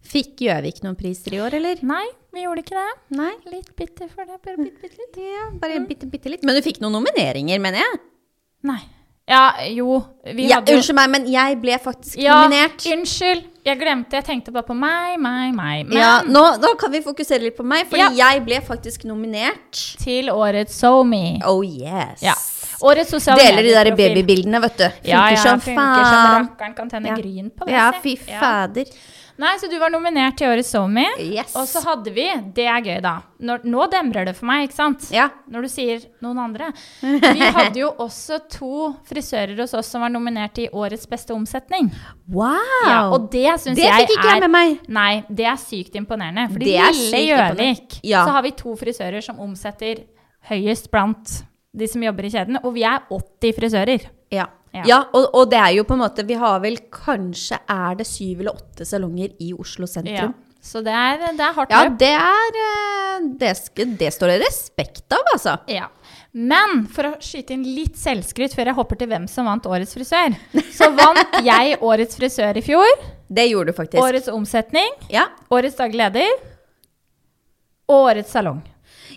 [SPEAKER 1] Fikk Gjøvik noen priser i år, eller?
[SPEAKER 2] Mm. Nei, vi gjorde ikke det.
[SPEAKER 1] Nei?
[SPEAKER 2] Litt bitter for det. Bare bitte, bitte litt. Mm.
[SPEAKER 1] Ja, bare bitte, bitte litt. Men du fikk noen nomineringer, mener jeg.
[SPEAKER 2] Nei. Ja, jo. Vi
[SPEAKER 1] Ja,
[SPEAKER 2] hadde jo
[SPEAKER 1] unnskyld meg, men jeg ble faktisk
[SPEAKER 2] Ja,
[SPEAKER 1] nominert.
[SPEAKER 2] unnskyld. Jeg glemte. Jeg tenkte bare på meg, meg, meg. Men
[SPEAKER 1] Ja, nå, nå kan vi fokusere litt på meg, for
[SPEAKER 2] Ja.
[SPEAKER 1] jeg ble faktisk nominert.
[SPEAKER 2] til årets SoMe.
[SPEAKER 1] Oh yes.
[SPEAKER 2] Ja. Årets sosiale
[SPEAKER 1] Deler de der
[SPEAKER 2] medieprofil.
[SPEAKER 1] babybildene, vet du. Funker
[SPEAKER 2] Ja, ja,
[SPEAKER 1] som
[SPEAKER 2] funker som
[SPEAKER 1] faen.
[SPEAKER 2] rakkeren kan tenne
[SPEAKER 1] Ja.
[SPEAKER 2] gryn på det.
[SPEAKER 1] ja,
[SPEAKER 2] si.
[SPEAKER 1] fy fader.
[SPEAKER 2] Nei, så du var nominert til årets SoMe.
[SPEAKER 1] Yes.
[SPEAKER 2] Og så hadde vi Det er gøy, da. Når, nå demrer det for meg, ikke sant?
[SPEAKER 1] Ja.
[SPEAKER 2] Når du sier noen andre. Vi hadde jo også to frisører hos oss som var nominert i årets beste omsetning.
[SPEAKER 1] Wow.
[SPEAKER 2] Ja, og det syns
[SPEAKER 1] Det
[SPEAKER 2] jeg er
[SPEAKER 1] fikk ikke jeg med meg.
[SPEAKER 2] Nei, det er sykt imponerende. For i
[SPEAKER 1] Det er
[SPEAKER 2] lille
[SPEAKER 1] sykt
[SPEAKER 2] Gjøvik
[SPEAKER 1] imponerende. Ja.
[SPEAKER 2] så har vi to frisører som omsetter høyest blant de som jobber i kjeden. Og vi er 80 frisører.
[SPEAKER 1] ja.
[SPEAKER 2] Ja.
[SPEAKER 1] Ja, og, og det er jo på en måte Vi har vel kanskje er det syv eller åtte salonger i Oslo
[SPEAKER 2] Ja.
[SPEAKER 1] sentrum.
[SPEAKER 2] Så det er, det er hardt
[SPEAKER 1] Ja,
[SPEAKER 2] løp.
[SPEAKER 1] det er eh, det, sk- det står det respekt av, altså.
[SPEAKER 2] Ja. Men for å skyte inn litt selvskryt før jeg hopper til hvem som vant Årets frisør, så vant jeg Årets frisør i fjor.
[SPEAKER 1] Det gjorde du faktisk.
[SPEAKER 2] Årets omsetning,
[SPEAKER 1] Ja.
[SPEAKER 2] Årets daglig leder og Årets salong.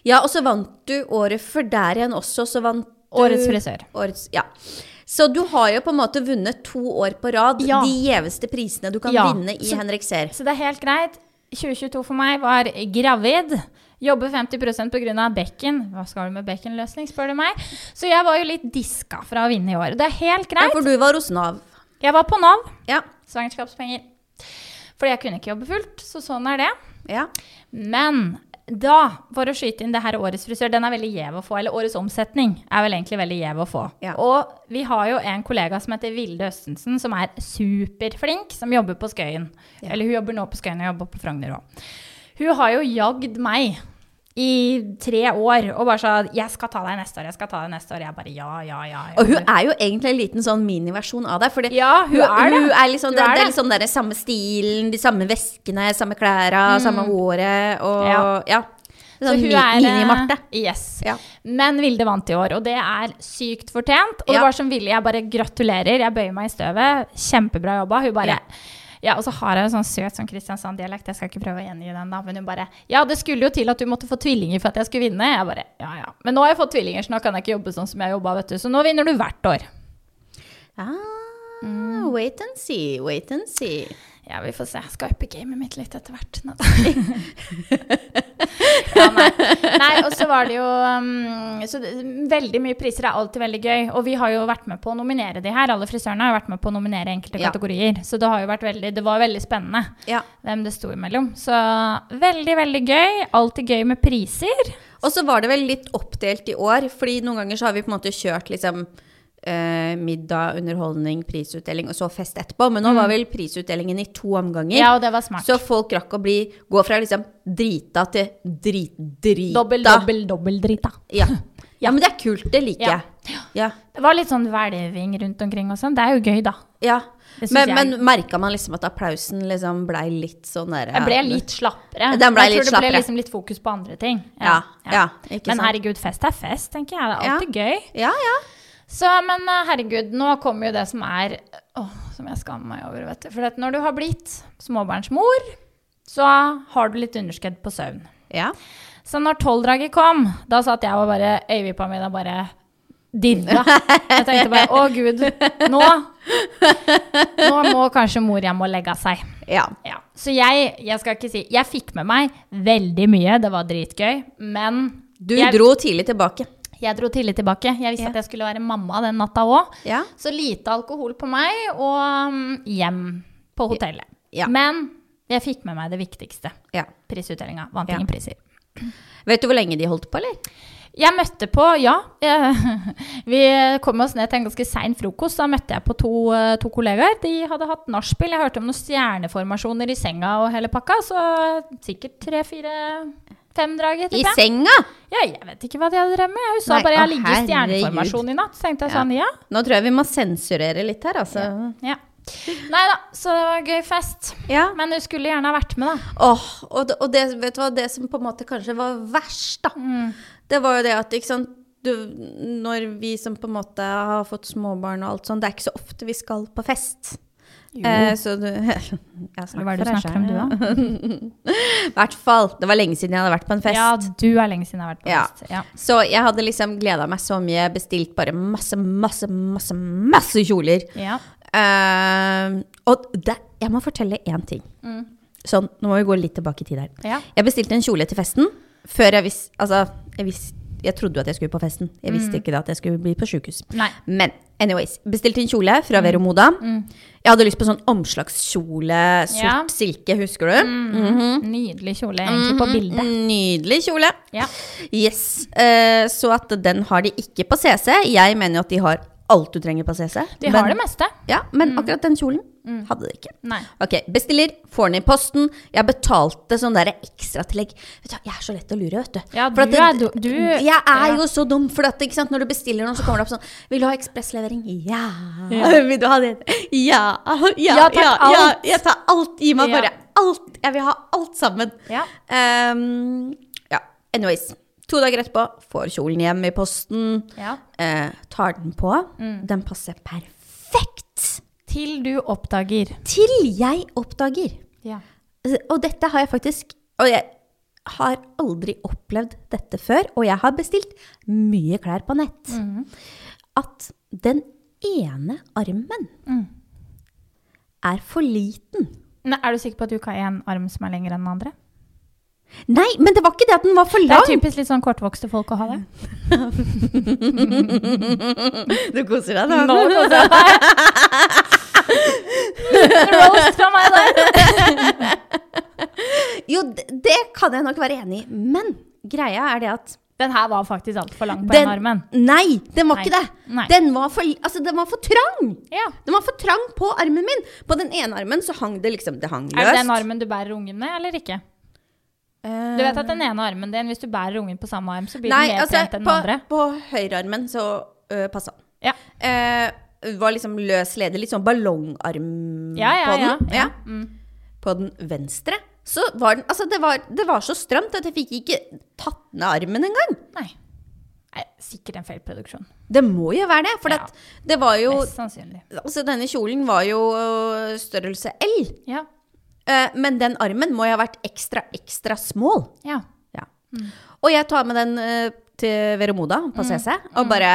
[SPEAKER 1] ja, og så vant du året før der igjen også, så vant du
[SPEAKER 2] Årets frisør.
[SPEAKER 1] Årets, ja. Så du har jo på en måte vunnet to år på rad
[SPEAKER 2] Ja.
[SPEAKER 1] de gjeveste prisene du kan
[SPEAKER 2] Ja.
[SPEAKER 1] vinne i
[SPEAKER 2] Så-
[SPEAKER 1] Henrik Seer.
[SPEAKER 2] Så det er helt greit. 2022 for meg var gravid. Jobbe 50 pga. bekken. Hva skal du med bekkenløsning, spør du meg. Så jeg var jo litt diska fra å vinne i år. Det er helt
[SPEAKER 1] Ja,
[SPEAKER 2] greit.
[SPEAKER 1] for du var hos Nav.
[SPEAKER 2] Jeg var på Nav.
[SPEAKER 1] Ja.
[SPEAKER 2] Svangerskapspenger. Fordi jeg kunne ikke jobbe fullt, så sånn er det.
[SPEAKER 1] ja.
[SPEAKER 2] Men da, for å skyte inn det her årets frisør, den er veldig gjev å få. Eller årets omsetning er vel egentlig veldig gjev å få.
[SPEAKER 1] Ja.
[SPEAKER 2] Og vi har jo en kollega som heter Vilde Østensen, som er superflink, som jobber på Skøyen.
[SPEAKER 1] Ja.
[SPEAKER 2] Eller hun jobber nå på Skøyen og jobber på Frogner òg. Hun har jo jagd meg i tre år og bare sa 'jeg skal ta deg neste år', 'jeg skal ta deg neste år'. Jeg bare ja, ja, ja. ja.
[SPEAKER 1] Og hun er jo egentlig en liten sånn miniversjon av deg. For det,
[SPEAKER 2] Ja, hun er det.
[SPEAKER 1] Hun er liksom,
[SPEAKER 2] Hun
[SPEAKER 1] det,
[SPEAKER 2] er
[SPEAKER 1] det
[SPEAKER 2] det.
[SPEAKER 1] er liksom den samme stilen, de samme veskene, samme klærne, samme håret og Ja.
[SPEAKER 2] Mm. Ja. Så
[SPEAKER 1] Sånn
[SPEAKER 2] hun
[SPEAKER 1] mi-
[SPEAKER 2] er, eh,
[SPEAKER 1] mini-Marte.
[SPEAKER 2] Yes.
[SPEAKER 1] Ja.
[SPEAKER 2] Men Vilde vant i år, og det er sykt fortjent. Og
[SPEAKER 1] Ja.
[SPEAKER 2] det var som Vilde, jeg bare gratulerer, jeg bøyer meg i støvet. Kjempebra jobba. Hun bare
[SPEAKER 1] Ja.
[SPEAKER 2] ja. og så har jeg en sånn søt sånn Kristiansand-dialekt. Jeg skal ikke prøve å gjengi den, da. Men hun bare Ja, det skulle jo til at du måtte få tvillinger for at jeg skulle vinne. Jeg bare Ja, ja. Men nå har jeg fått tvillinger, så nå kan jeg ikke jobbe sånn som jeg jobba, vet du. Så nå vinner du hvert år. eh,
[SPEAKER 1] Ah, wait and see, wait and see.
[SPEAKER 2] Ja, vi får se. Jeg skal uppe gamet mitt litt etter hvert. Nå. ja, nei. nei, og så var det jo um, så det, Veldig mye priser er alltid veldig gøy. Og vi har jo vært med på å nominere de her. Alle frisørene har jo vært med på å nominere enkelte
[SPEAKER 1] Ja.
[SPEAKER 2] kategorier. Så det, har jo vært veldig, det var veldig spennende
[SPEAKER 1] Ja.
[SPEAKER 2] hvem det sto imellom. Så veldig, veldig gøy. Alltid gøy med priser.
[SPEAKER 1] Og så var det vel litt oppdelt i år, fordi noen ganger så har vi på en måte kjørt liksom eh, middag, underholdning, prisutdeling og så fest etterpå. Men nå var vel prisutdelingen i to omganger.
[SPEAKER 2] Mm. Ja, og det var smart.
[SPEAKER 1] Så folk rakk å bli, gå fra liksom drita til drit-drita.
[SPEAKER 2] Dobbel, dobbel, dobbel dritt, da.
[SPEAKER 1] Ja. ja, men det er kult. Det liker
[SPEAKER 2] Ja.
[SPEAKER 1] jeg. Ja.
[SPEAKER 2] Det var litt sånn hvelving rundt omkring og sånn. Det er jo gøy, da.
[SPEAKER 1] ja.
[SPEAKER 2] Det syns
[SPEAKER 1] Men,
[SPEAKER 2] jeg.
[SPEAKER 1] men merka man liksom at applausen liksom blei litt sånn der
[SPEAKER 2] Jeg ble litt slappere.
[SPEAKER 1] Den ble
[SPEAKER 2] jeg
[SPEAKER 1] litt
[SPEAKER 2] tror det ble
[SPEAKER 1] slappere.
[SPEAKER 2] liksom litt fokus på andre ting.
[SPEAKER 1] Ja, ja, ikke
[SPEAKER 2] men
[SPEAKER 1] sant.
[SPEAKER 2] herregud, fest er fest, tenker jeg. Det er alltid gøy.
[SPEAKER 1] Ja, ja.
[SPEAKER 2] Så, men eh, herregud, nå kommer jo det som er Åh, som jeg skammer meg over, vet du. For at når du har blitt småbarnsmor, så har du litt underskudd på søvn.
[SPEAKER 1] Ja.
[SPEAKER 2] Så når tolvdraget kom, da satt jeg og bare Øyevippa mi da bare dirra. Jeg tenkte bare å gud, nå Nå må kanskje mor hjem og legge seg.
[SPEAKER 1] ja.
[SPEAKER 2] Ja. Så jeg, jeg skal ikke si Jeg fikk med meg veldig mye, det var dritgøy, men
[SPEAKER 1] Du
[SPEAKER 2] jeg,
[SPEAKER 1] dro tidlig tilbake.
[SPEAKER 2] jeg dro tidlig tilbake. Jeg visste
[SPEAKER 1] Ja.
[SPEAKER 2] at jeg skulle være mamma den natta òg.
[SPEAKER 1] Ja.
[SPEAKER 2] Så lite alkohol på meg, og mm, hjem på hotellet.
[SPEAKER 1] Ja.
[SPEAKER 2] Men jeg fikk med meg det viktigste.
[SPEAKER 1] ja.
[SPEAKER 2] Prisutdelinga. Vant
[SPEAKER 1] Ja.
[SPEAKER 2] ingen priser.
[SPEAKER 1] Vet du hvor lenge de holdt på, eller?
[SPEAKER 2] Jeg møtte på, ja eh, Vi kom oss ned til en ganske sein frokost. Da møtte jeg på to, eh, to kollegaer. De hadde hatt nachspiel. Jeg hørte om noen stjerneformasjoner i senga og hele pakka. Så sikkert tre-fire-fem drager.
[SPEAKER 1] I
[SPEAKER 2] tipper jeg.
[SPEAKER 1] senga!
[SPEAKER 2] Ja, jeg vet ikke hva de hadde drevet med. Jeg sa
[SPEAKER 1] Nei,
[SPEAKER 2] bare
[SPEAKER 1] å,
[SPEAKER 2] jeg ligger i
[SPEAKER 1] herregud.
[SPEAKER 2] stjerneformasjon i natt. Så tenkte jeg
[SPEAKER 1] Ja.
[SPEAKER 2] sånn, ja.
[SPEAKER 1] Nå tror jeg vi må sensurere litt her, altså.
[SPEAKER 2] ja. Nei da, så det var gøy fest.
[SPEAKER 1] Ja.
[SPEAKER 2] Men hun skulle gjerne ha vært med, da.
[SPEAKER 1] Åh, og det, og det, vet du hva, det som på en måte kanskje var verst, da,
[SPEAKER 2] Mm.
[SPEAKER 1] det var jo det at ikke sant, du, når vi som på en måte har fått småbarn og alt sånt, det er ikke så ofte vi skal på fest. Eh, så du Jeg
[SPEAKER 2] Hva er det du snakker om, du,
[SPEAKER 1] da? I hvert fall. Det var lenge siden jeg hadde vært på en fest.
[SPEAKER 2] Ja, du er lenge siden jeg har vært på
[SPEAKER 1] Ja.
[SPEAKER 2] fest. Ja.
[SPEAKER 1] Så jeg hadde liksom gleda meg så mye, bestilt bare masse, masse, masse, masse kjoler.
[SPEAKER 2] Ja.
[SPEAKER 1] Eh, og det, jeg må fortelle én ting.
[SPEAKER 2] Mm.
[SPEAKER 1] Sånn, nå må vi gå litt tilbake i tid her.
[SPEAKER 2] Ja.
[SPEAKER 1] Jeg bestilte en kjole til festen før jeg visste Altså, jeg, vis- jeg trodde jo at jeg skulle på festen. Jeg visste ikke da at jeg skulle bli på sjukehus.
[SPEAKER 2] Mm. Nei. Mm.
[SPEAKER 1] Men anyways, bestilte en kjole fra Vero Moda. Jeg hadde lyst på sånn omslagskjole, sort
[SPEAKER 2] Ja.
[SPEAKER 1] silke, husker du? Mhm. Mm.
[SPEAKER 2] Nydelig kjole, egentlig, på bildet.
[SPEAKER 1] Nydelig kjole.
[SPEAKER 2] Ja.
[SPEAKER 1] Yes. Eh, så at den har de ikke på CC. Jeg mener jo at de har alt du trenger på CC.
[SPEAKER 2] De har det Mm. meste.
[SPEAKER 1] Ja, men akkurat den kjolen hadde de ikke.
[SPEAKER 2] Nei.
[SPEAKER 1] Ok, bestiller, får den i posten. Jeg betalte sånn der ekstratillegg. Vet du, hva, jeg er så lett å lure, vet du.
[SPEAKER 2] Ja,
[SPEAKER 1] For at
[SPEAKER 2] du er du- du-
[SPEAKER 1] jeg er
[SPEAKER 2] ja.
[SPEAKER 1] jo så dum, for at, ikke sant, når du bestiller noe, så kommer det opp sånn Vil du ha ekspresslevering? Ja. Vil du ha det? Ja. Ja,
[SPEAKER 2] Ja, takk,
[SPEAKER 1] ja, ja.
[SPEAKER 2] alt.
[SPEAKER 1] Jeg tar alt. Gi meg
[SPEAKER 2] Ja.
[SPEAKER 1] bare alt. Jeg vil ha alt sammen.
[SPEAKER 2] Ja.
[SPEAKER 1] Ehm, ja. Anyways. To dager etterpå får kjolen hjem i posten.
[SPEAKER 2] Ja.
[SPEAKER 1] Eh, tar den på.
[SPEAKER 2] Mm.
[SPEAKER 1] Den passer perfekt
[SPEAKER 2] Til du oppdager.
[SPEAKER 1] til jeg oppdager.
[SPEAKER 2] Ja.
[SPEAKER 1] Og dette har jeg faktisk Og jeg har aldri opplevd dette før, og jeg har bestilt mye klær på nett.
[SPEAKER 2] Mm.
[SPEAKER 1] At den ene armen er for liten
[SPEAKER 2] Mm. Nei, er du sikker på at du ikke har én arm som er lengre enn den andre?
[SPEAKER 1] Nei, men det var ikke det at den var for
[SPEAKER 2] Det er
[SPEAKER 1] lang! Mm.
[SPEAKER 2] typisk litt sånn kortvokste folk å ha det.
[SPEAKER 1] Du koser deg, da.
[SPEAKER 2] Nå koser jeg meg. Liten roast fra meg der.
[SPEAKER 1] Jo, d- det kan jeg nok være enig i, men greia er det at
[SPEAKER 2] Den her var faktisk altfor lang på
[SPEAKER 1] Den-
[SPEAKER 2] den armen.
[SPEAKER 1] Nei, den var
[SPEAKER 2] Nei.
[SPEAKER 1] ikke det!
[SPEAKER 2] Nei.
[SPEAKER 1] Den var, for, altså, den var for trang!
[SPEAKER 2] Ja.
[SPEAKER 1] Den var for trang på armen min. På den ene armen så hang det liksom Det hang løst.
[SPEAKER 2] Er det den armen du bærer ungen med, eller ikke? Du vet at den ene armen din, hvis du bærer ungen på samme arm, så blir
[SPEAKER 1] Eh. Nei,
[SPEAKER 2] den mer
[SPEAKER 1] altså,
[SPEAKER 2] trent enn den
[SPEAKER 1] på,
[SPEAKER 2] andre.
[SPEAKER 1] på høyrearmen så uh, passa den.
[SPEAKER 2] Ja.
[SPEAKER 1] Eh, var liksom løs leder, litt sånn ballongarm
[SPEAKER 2] Ja, ja,
[SPEAKER 1] på den.
[SPEAKER 2] ja. ja.
[SPEAKER 1] Ja.
[SPEAKER 2] Mm.
[SPEAKER 1] På den venstre så var den Altså, det var, det var så stramt at jeg fikk ikke tatt ned armen engang.
[SPEAKER 2] Nei. Nei. Sikkert en feilproduksjon.
[SPEAKER 1] Det må jo være det, for
[SPEAKER 2] Ja.
[SPEAKER 1] at det var jo
[SPEAKER 2] Mest sannsynlig.
[SPEAKER 1] Altså, denne kjolen var jo øh, størrelse L,
[SPEAKER 2] Ja.
[SPEAKER 1] eh, men den armen må jo ha vært ekstra, ekstra small.
[SPEAKER 2] ja.
[SPEAKER 1] Ja. Og jeg tar med den eh, til Veromoda
[SPEAKER 2] Mm.
[SPEAKER 1] på CC, og bare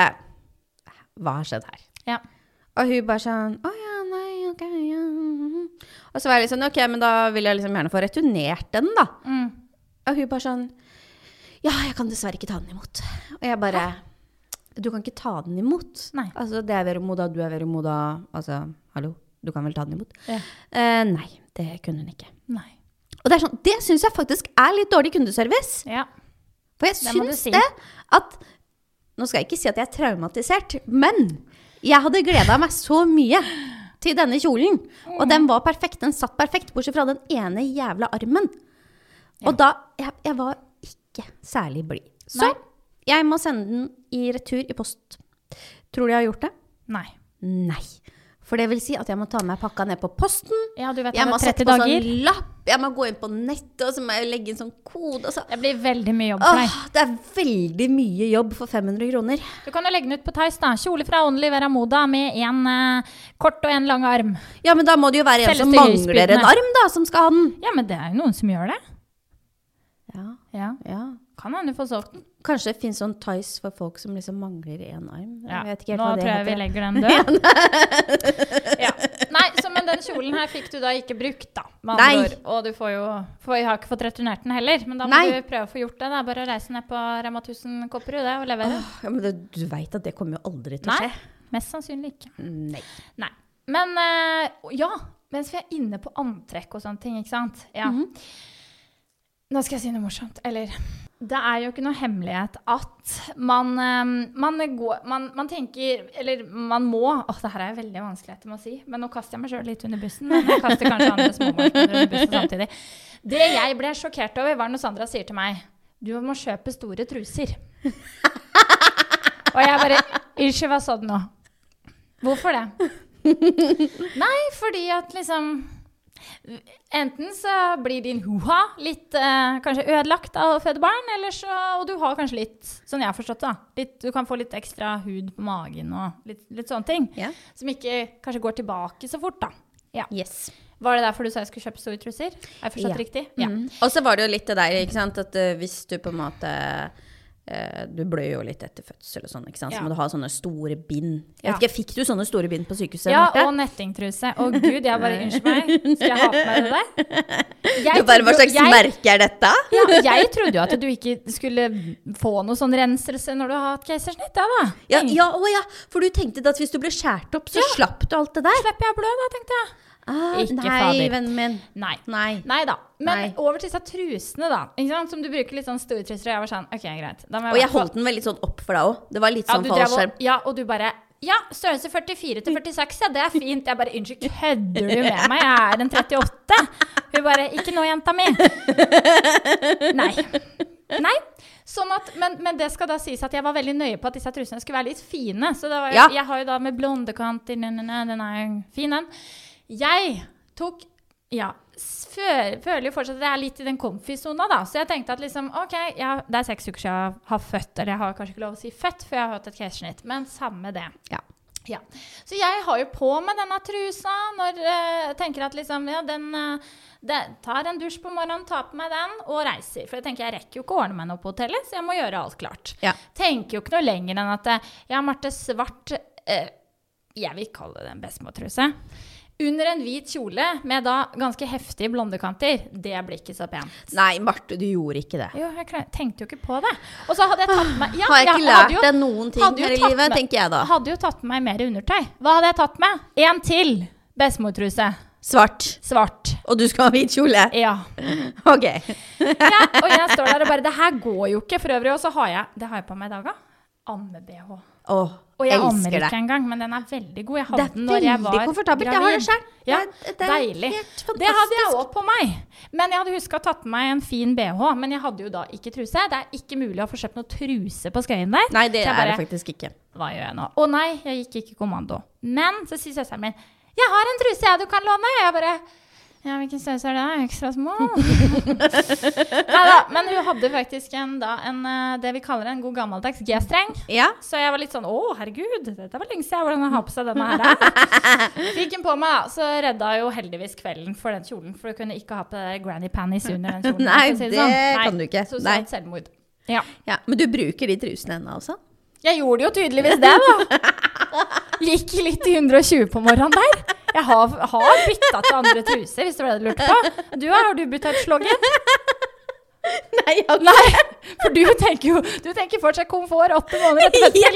[SPEAKER 1] Hva har skjedd her?
[SPEAKER 2] ja.
[SPEAKER 1] Og hun bare sånn Å ja, nei, ok, ja. mhm». Og så var jeg litt sånn Ok, men da vil jeg liksom gjerne få returnert den, da.
[SPEAKER 2] Mm.
[SPEAKER 1] Og hun bare sånn Ja, jeg kan dessverre ikke ta den imot. Og jeg bare Du kan ikke ta den imot.
[SPEAKER 2] Nei.
[SPEAKER 1] Altså, det er Veromoda, du er Veromoda. Altså, hallo, du kan vel ta den imot?
[SPEAKER 2] Ja.
[SPEAKER 1] Eh, nei, det kunne hun ikke.
[SPEAKER 2] Nei.
[SPEAKER 1] Og det er sånn, det syns jeg faktisk er litt dårlig kundeservice.
[SPEAKER 2] Ja.
[SPEAKER 1] For jeg
[SPEAKER 2] Det må du
[SPEAKER 1] syns
[SPEAKER 2] si.
[SPEAKER 1] det at Nå skal jeg ikke si at jeg er traumatisert, men jeg hadde gleda meg så mye til denne kjolen. Og den var perfekt. Den satt perfekt, bortsett fra den ene jævla armen. Og da Jeg, jeg var ikke særlig blid. Så
[SPEAKER 2] Nei.
[SPEAKER 1] jeg må sende den i retur i post. Tror du jeg har gjort det?
[SPEAKER 2] Nei.
[SPEAKER 1] Nei. For det vil si at jeg må ta med pakka ned på posten.
[SPEAKER 2] Ja, du vet
[SPEAKER 1] Jeg
[SPEAKER 2] det
[SPEAKER 1] må
[SPEAKER 2] er
[SPEAKER 1] sette
[SPEAKER 2] 30
[SPEAKER 1] på
[SPEAKER 2] dager.
[SPEAKER 1] sånn lapp. Jeg må gå inn på nettet og så må jeg legge inn sånn kode. Og så
[SPEAKER 2] Det blir veldig mye jobb for deg.
[SPEAKER 1] Åh, det er veldig mye jobb for 500 kroner.
[SPEAKER 2] Du kan jo legge den ut på Theis, da. Kjole fra Only Vera Moda med en eh, kort og en lang arm.
[SPEAKER 1] Ja, men da må det jo være en som
[SPEAKER 2] Selveste
[SPEAKER 1] mangler en
[SPEAKER 2] høyspydene.
[SPEAKER 1] arm, da, som skal ha den.
[SPEAKER 2] Ja, men det er jo noen som gjør det.
[SPEAKER 1] Ja,
[SPEAKER 2] Ja.
[SPEAKER 1] ja.
[SPEAKER 2] Kan hende du får solgt den.
[SPEAKER 1] Kanskje det finnes sånn Tice for folk som liksom mangler én arm.
[SPEAKER 2] Ja.
[SPEAKER 1] Jeg vet ikke helt
[SPEAKER 2] Nå
[SPEAKER 1] hva
[SPEAKER 2] tror
[SPEAKER 1] det
[SPEAKER 2] jeg vi
[SPEAKER 1] heter.
[SPEAKER 2] legger den død. ja. Nei, så men den kjolen her fikk du da ikke brukt, da. Med andre
[SPEAKER 1] Nei.
[SPEAKER 2] ord. Og du får jo for Jeg har ikke fått returnert den heller, men da må
[SPEAKER 1] Nei.
[SPEAKER 2] du prøve å få gjort det. Det er bare å reise ned på Rema 1000 Kopperud det, og levere.
[SPEAKER 1] Åh, ja, men det, du veit at det kommer jo aldri til å
[SPEAKER 2] Nei.
[SPEAKER 1] skje.
[SPEAKER 2] Mest sannsynlig ikke.
[SPEAKER 1] Nei.
[SPEAKER 2] Nei. Men eh, ja, mens vi er inne på antrekk og sånne ting, ikke sant. Ja. Nå skal jeg si noe morsomt. Eller Det er jo ikke noe hemmelighet at man, eh, man går man, man tenker Eller man må Åh, det her er veldig vanskelig etter å si, men nå kaster jeg meg sjøl litt under bussen. Men jeg kaster kanskje andre småbarnsmødre under bussen samtidig. Det jeg ble sjokkert over, var når Sandra sier til meg Du må kjøpe store truser. Og jeg bare Unnskyld, hva sa du nå? Hvorfor det? Nei, fordi at liksom Enten så blir din huha litt eh, kanskje ødelagt av å føde barn, eller så, og du har kanskje litt, sånn jeg har forstått det, da, litt, du kan få litt ekstra hud på magen og litt, litt sånne ting.
[SPEAKER 1] Ja.
[SPEAKER 2] Som ikke kanskje går tilbake så fort, da. Ja.
[SPEAKER 1] Yes.
[SPEAKER 2] Var det derfor du sa jeg skulle kjøpe store truser? Har jeg forstått
[SPEAKER 1] Ja.
[SPEAKER 2] riktig? Ja.
[SPEAKER 1] Mm. Og så var det jo litt det der, ikke sant, at eh, hvis du på en måte eh, du blør jo litt etter fødsel, og sånn, ikke sant? så
[SPEAKER 2] Ja.
[SPEAKER 1] må du ha sånne store bind. Jeg
[SPEAKER 2] Ja.
[SPEAKER 1] vet ikke, Fikk du sånne store bind på sykehuset?
[SPEAKER 2] Ja,
[SPEAKER 1] Marte?
[SPEAKER 2] og nettingtruse. Å gud, jeg bare Unnskyld meg, skal jeg ha på meg det der? Jeg
[SPEAKER 1] Du bare, Hva slags
[SPEAKER 2] trodde jo- jeg-
[SPEAKER 1] merke er dette?
[SPEAKER 2] Ja, jeg trodde jo at du ikke skulle få noe sånn renselse når du har hatt keisersnitt, ja da.
[SPEAKER 1] Ja, ja, å ja, for du tenkte at hvis du ble skåret opp, så slapp du alt det der?
[SPEAKER 2] Slipper jeg å blø da, tenkte jeg.
[SPEAKER 1] Ah,
[SPEAKER 2] Ikke
[SPEAKER 1] nei,
[SPEAKER 2] fader.
[SPEAKER 1] vennen min.
[SPEAKER 2] Nei.
[SPEAKER 1] Nei.
[SPEAKER 2] Nei da. Men
[SPEAKER 1] Nei.
[SPEAKER 2] over til disse trusene, da. Ikke sant? Som du bruker litt sånn store truser. Og jeg var sånn, ok, greit. Da må
[SPEAKER 1] Og jeg
[SPEAKER 2] i hvert fall-
[SPEAKER 1] holdt den veldig sånn opp for deg òg. Det var litt
[SPEAKER 2] ja,
[SPEAKER 1] sånn
[SPEAKER 2] du drev
[SPEAKER 1] fallskjerm.
[SPEAKER 2] og, ja, og du bare Ja, størrelse 44 til 46, ja, det er fint. Jeg bare Unnskyld, kødder du med meg? Jeg er en 38. Hun bare Ikke nå, jenta mi. Nei. Nei. Sånn at, men, men det skal da sies at jeg var veldig nøye på at disse trusene skulle være litt fine. Så det var, jo-
[SPEAKER 1] Ja.
[SPEAKER 2] jeg har jo da med blondekanter nø, nø, nø, Den er jo fin, den. Jeg tok Ja. s- fø- føler jo fortsatt at jeg er litt i den comfy-sona, da. Så jeg tenkte at liksom OK, jeg, det er seks uker siden jeg har født. Eller jeg har kanskje ikke lov å si født, for jeg har hatt et keisersnitt. Men samme det.
[SPEAKER 1] Ja.
[SPEAKER 2] Ja. Så jeg har jo på meg denne trusa når eh, jeg tenker at liksom, ja, den eh, det, tar en dusj på morgenen, tar på meg den og reiser. For jeg tenker jeg rekker jo ikke å ordne meg noe på hotellet, så jeg må gjøre alt klart.
[SPEAKER 1] Ja.
[SPEAKER 2] Tenker jo ikke noe lenger enn at eh, ja, Marte Svart eh, Jeg vil kalle det en bestemortruse. Under en hvit kjole med da ganske heftige blondekanter. Det blir ikke så pent.
[SPEAKER 1] Nei, Marte, du gjorde ikke det.
[SPEAKER 2] Jo, jeg klar- tenkte jo ikke på det. Og så hadde jeg tatt med ja,
[SPEAKER 1] Har jeg ikke
[SPEAKER 2] hadde
[SPEAKER 1] lært
[SPEAKER 2] jo-
[SPEAKER 1] deg noen ting
[SPEAKER 2] hadde jo
[SPEAKER 1] her i
[SPEAKER 2] tatt
[SPEAKER 1] livet,
[SPEAKER 2] med-
[SPEAKER 1] tenker jeg da.
[SPEAKER 2] Hadde jo tatt med meg mer undertøy. Hva hadde jeg tatt med? En til bestemortruse.
[SPEAKER 1] Svart.
[SPEAKER 2] Svart.
[SPEAKER 1] Og du skal ha hvit kjole.
[SPEAKER 2] Ja.
[SPEAKER 1] Ok.
[SPEAKER 2] ja. Og jeg står der og bare Det her går jo ikke. For øvrig, og så har jeg Det har jeg på meg i dag, da. Amme-BH.
[SPEAKER 1] Å,
[SPEAKER 2] Og jeg ammer
[SPEAKER 1] elsker det.
[SPEAKER 2] ikke engang, men den er veldig god.
[SPEAKER 1] Det
[SPEAKER 2] Jeg hadde
[SPEAKER 1] er
[SPEAKER 2] den når jeg var
[SPEAKER 1] veldig komfortabelt. Jeg har det selv.
[SPEAKER 2] Ja,
[SPEAKER 1] Det er- det er
[SPEAKER 2] deilig.
[SPEAKER 1] helt
[SPEAKER 2] Det hadde jeg
[SPEAKER 1] fantastisk.
[SPEAKER 2] òg på meg. Men jeg hadde huska å tatt på meg en fin bh. Men jeg hadde jo da ikke truse. Det er ikke mulig å få kjøpt noe truse på Skøyen der.
[SPEAKER 1] Nei, det
[SPEAKER 2] Så jeg
[SPEAKER 1] er det
[SPEAKER 2] bare,
[SPEAKER 1] faktisk ikke.
[SPEAKER 2] Hva gjør jeg nå? Å nei, jeg gikk ikke kommando. Men så sier søsteren min Jeg har en truse jeg du kan låne. Jeg bare ja, hvilken størrelse er det? da? Ekstra small? Neida, Men hun hadde faktisk en, da, en, eh, det vi kaller en god gammeldags G-streng.
[SPEAKER 1] Ja.
[SPEAKER 2] Så jeg var litt sånn Å, herregud, dette var lenge siden. Hvordan har jeg har på seg denne her? Fikk den på meg, da. Så redda jo heldigvis kvelden for den kjolen. For du kunne ikke ha på det der granny panties under den kjolen.
[SPEAKER 1] Nei,
[SPEAKER 2] for å si sånn.
[SPEAKER 1] det kan du ikke. Nei.
[SPEAKER 2] Sosialt selvmord. Ja.
[SPEAKER 1] ja. Men du bruker de trusene ennå altså? også?
[SPEAKER 2] Jeg gjorde jo tydeligvis det, da. Gikk litt i 120 på morgenen der. Jeg har, har bytta til andre truser, hvis det var det du lurte på. Du, har du bytta ut sloggen?
[SPEAKER 1] Nei, jeg
[SPEAKER 2] Nei, for du tenker jo Du tenker fortsatt komfort åtte måneder etter fødsel.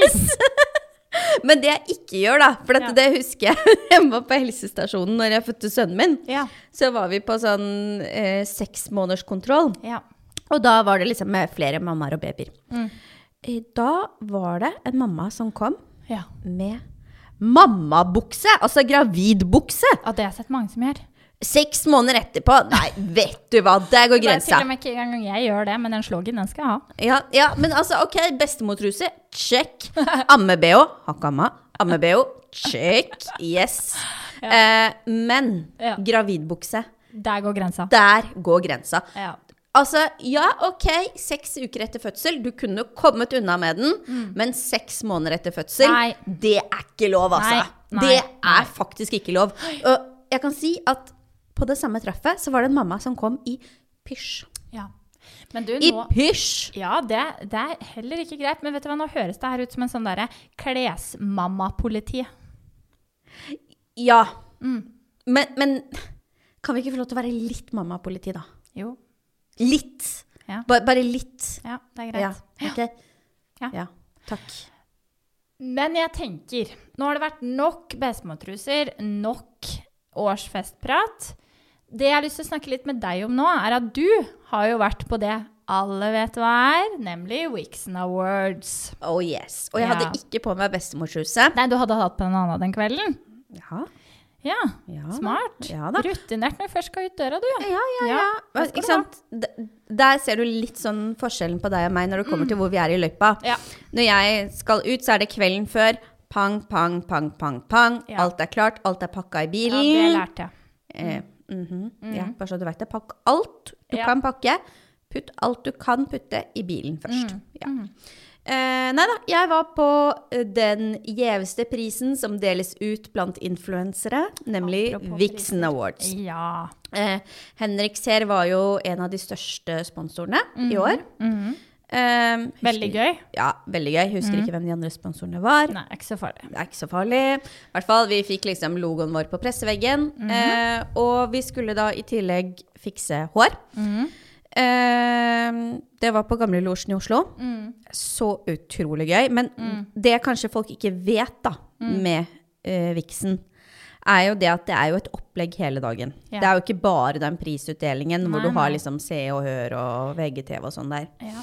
[SPEAKER 1] Yes! Men det jeg ikke gjør, da, for dette,
[SPEAKER 2] Ja.
[SPEAKER 1] det husker jeg Jeg var på helsestasjonen når jeg fødte sønnen min.
[SPEAKER 2] Ja.
[SPEAKER 1] Så var vi på sånn eh, seksmånederskontroll.
[SPEAKER 2] ja.
[SPEAKER 1] Og da var det liksom med flere mammaer og babyer. Eh, Da var det en mamma som kom
[SPEAKER 2] Ja.
[SPEAKER 1] med mammabukse, altså gravidbukse.
[SPEAKER 2] Ja, det har jeg sett mange som gjør.
[SPEAKER 1] Seks måneder etterpå, nei, vet du hva, der går
[SPEAKER 2] Det er
[SPEAKER 1] grensa.
[SPEAKER 2] til og med ikke engang jeg gjør det, men den sloggen den skal jeg ha.
[SPEAKER 1] Ja, ja, men altså, ok, bestemortruse, check. Amme-BH, har ikke amma. Amme-BH, check. Yes. Eh, men
[SPEAKER 2] Ja.
[SPEAKER 1] gravidbukse,
[SPEAKER 2] Der går grensa.
[SPEAKER 1] der går grensa.
[SPEAKER 2] Ja.
[SPEAKER 1] Altså, ja, ok, seks uker etter fødsel, du kunne kommet unna med den, men seks måneder etter fødsel,
[SPEAKER 2] Mm. Nei.
[SPEAKER 1] det er ikke lov, altså.
[SPEAKER 2] Nei, nei,
[SPEAKER 1] det er
[SPEAKER 2] nei.
[SPEAKER 1] faktisk ikke lov. Og jeg kan si at på det samme treffet så var det en mamma som kom i pysj.
[SPEAKER 2] ja. Men du,
[SPEAKER 1] I
[SPEAKER 2] nå
[SPEAKER 1] pysj!
[SPEAKER 2] Ja, det, det er heller ikke greit, men vet du hva, nå høres det her ut som en sånn derre klesmamma-politi.
[SPEAKER 1] Ja.
[SPEAKER 2] Mm.
[SPEAKER 1] Men, men kan vi ikke få lov til å være litt mamma og politi, da?
[SPEAKER 2] Jo.
[SPEAKER 1] Litt.
[SPEAKER 2] Ja.
[SPEAKER 1] Ba- bare litt.
[SPEAKER 2] Ja, det er
[SPEAKER 1] Ja,
[SPEAKER 2] greit.
[SPEAKER 1] ok.
[SPEAKER 2] Ja.
[SPEAKER 1] ja. Takk.
[SPEAKER 2] Men jeg tenker, nå har det vært nok bestemortruser, nok årsfestprat. Det jeg har lyst til å snakke litt med deg om nå, er at du har jo vært på det alle vet hva er, nemlig Wixon Awards.
[SPEAKER 1] Oh yes. Og jeg
[SPEAKER 2] Ja.
[SPEAKER 1] hadde ikke på meg bestemortruse.
[SPEAKER 2] Nei, du hadde hatt på en annen den kvelden.
[SPEAKER 1] Ja.
[SPEAKER 2] Ja,
[SPEAKER 1] Ja da.
[SPEAKER 2] smart.
[SPEAKER 1] Ah, Ja da.
[SPEAKER 2] Rutinert når du først skal ut døra, du.
[SPEAKER 1] Ja, ja, ja.
[SPEAKER 2] Ja, hva skal
[SPEAKER 1] ikke
[SPEAKER 2] du
[SPEAKER 1] sant? D- Der ser du litt sånn forskjellen på deg og meg når det kommer til hvor vi er i løypa.
[SPEAKER 2] Mm. Ja.
[SPEAKER 1] Når jeg skal ut, så er det kvelden før. Pang, pang, pang, pang, pang.
[SPEAKER 2] Ja.
[SPEAKER 1] Alt er klart, alt er pakka i
[SPEAKER 2] Ja,
[SPEAKER 1] bilen.
[SPEAKER 2] det lærte jeg.
[SPEAKER 1] Eh, mhm. Ja, bare så du vet det. Pakk alt du
[SPEAKER 2] Mm. Ja.
[SPEAKER 1] kan pakke. Putt alt du kan putte i bilen
[SPEAKER 2] Mm.
[SPEAKER 1] først. Ja. Eh, nei da, jeg var på eh, den gjeveste prisen som deles ut blant influensere, nemlig
[SPEAKER 2] Apropos
[SPEAKER 1] Vixen
[SPEAKER 2] priser.
[SPEAKER 1] Awards.
[SPEAKER 2] Ja.
[SPEAKER 1] Eh, Henrik Sehr var jo en av de største sponsorene i år. Eh, husker-
[SPEAKER 2] Mm. Mhm. Veldig gøy. Mm.
[SPEAKER 1] Ja, veldig gøy. Husker ikke hvem de andre sponsorene var.
[SPEAKER 2] Nei, ikke så farlig.
[SPEAKER 1] Det er ikke så farlig. I hvert fall, Vi fikk liksom logoen vår på presseveggen.
[SPEAKER 2] Mhm.
[SPEAKER 1] eh, og vi skulle da i tillegg fikse hår.
[SPEAKER 2] Mhm.
[SPEAKER 1] Eh, det var på Gamle Losjen i Oslo.
[SPEAKER 2] Mm.
[SPEAKER 1] Så utrolig gøy. Men det kanskje folk ikke vet da,
[SPEAKER 2] Mm.
[SPEAKER 1] med eh, Vixen, er jo det at det er jo et opplegg hele dagen.
[SPEAKER 2] Ja.
[SPEAKER 1] Det er jo ikke bare den prisutdelingen hvor
[SPEAKER 2] Nei,
[SPEAKER 1] du har
[SPEAKER 2] nei.
[SPEAKER 1] liksom Se og Hør og VGTV og sånn der.
[SPEAKER 2] Ja.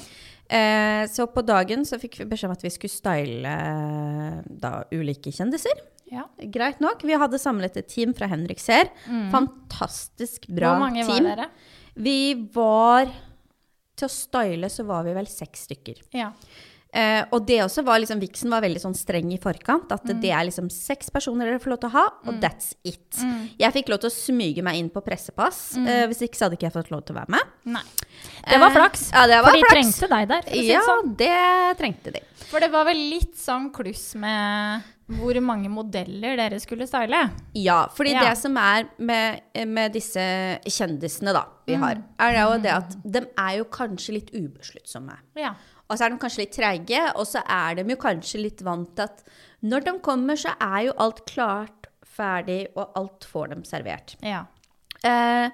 [SPEAKER 1] Eh, så på dagen så fikk vi beskjed om at vi skulle style eh, da ulike kjendiser.
[SPEAKER 2] Ja.
[SPEAKER 1] Greit nok. Vi hadde samlet et team fra Henrik Sehr. Fantastisk bra
[SPEAKER 2] Mm. Hvor mange
[SPEAKER 1] team.
[SPEAKER 2] var dere?
[SPEAKER 1] Vi var Til å style så var vi vel seks stykker.
[SPEAKER 2] Ja.
[SPEAKER 1] Eh, og det også var liksom, Vixen var veldig sånn streng i forkant. At
[SPEAKER 2] Mm.
[SPEAKER 1] det er liksom seks personer dere får lov til å ha, og that's it.
[SPEAKER 2] Mm.
[SPEAKER 1] Jeg fikk lov til å smyge meg inn på pressepass. Eh, hvis ikke så hadde ikke jeg fått lov til å være med.
[SPEAKER 2] Nei. Mm. Det var
[SPEAKER 1] Eh,
[SPEAKER 2] flaks.
[SPEAKER 1] ja, det var
[SPEAKER 2] for de
[SPEAKER 1] flaks.
[SPEAKER 2] trengte deg der. For, å si det
[SPEAKER 1] Ja,
[SPEAKER 2] sånn.
[SPEAKER 1] det trengte de.
[SPEAKER 2] for det var vel litt sånn kluss med hvor mange modeller dere skulle style.
[SPEAKER 1] Ja, fordi
[SPEAKER 2] Ja.
[SPEAKER 1] det som er med, med disse kjendisene da, vi har, er det jo det at de er jo kanskje litt ubesluttsomme.
[SPEAKER 2] Ja.
[SPEAKER 1] Og så er de kanskje litt treige, og så er de jo kanskje litt vant til at når de kommer, så er jo alt klart ferdig, og alt får dem servert.
[SPEAKER 2] Ja.
[SPEAKER 1] Eh,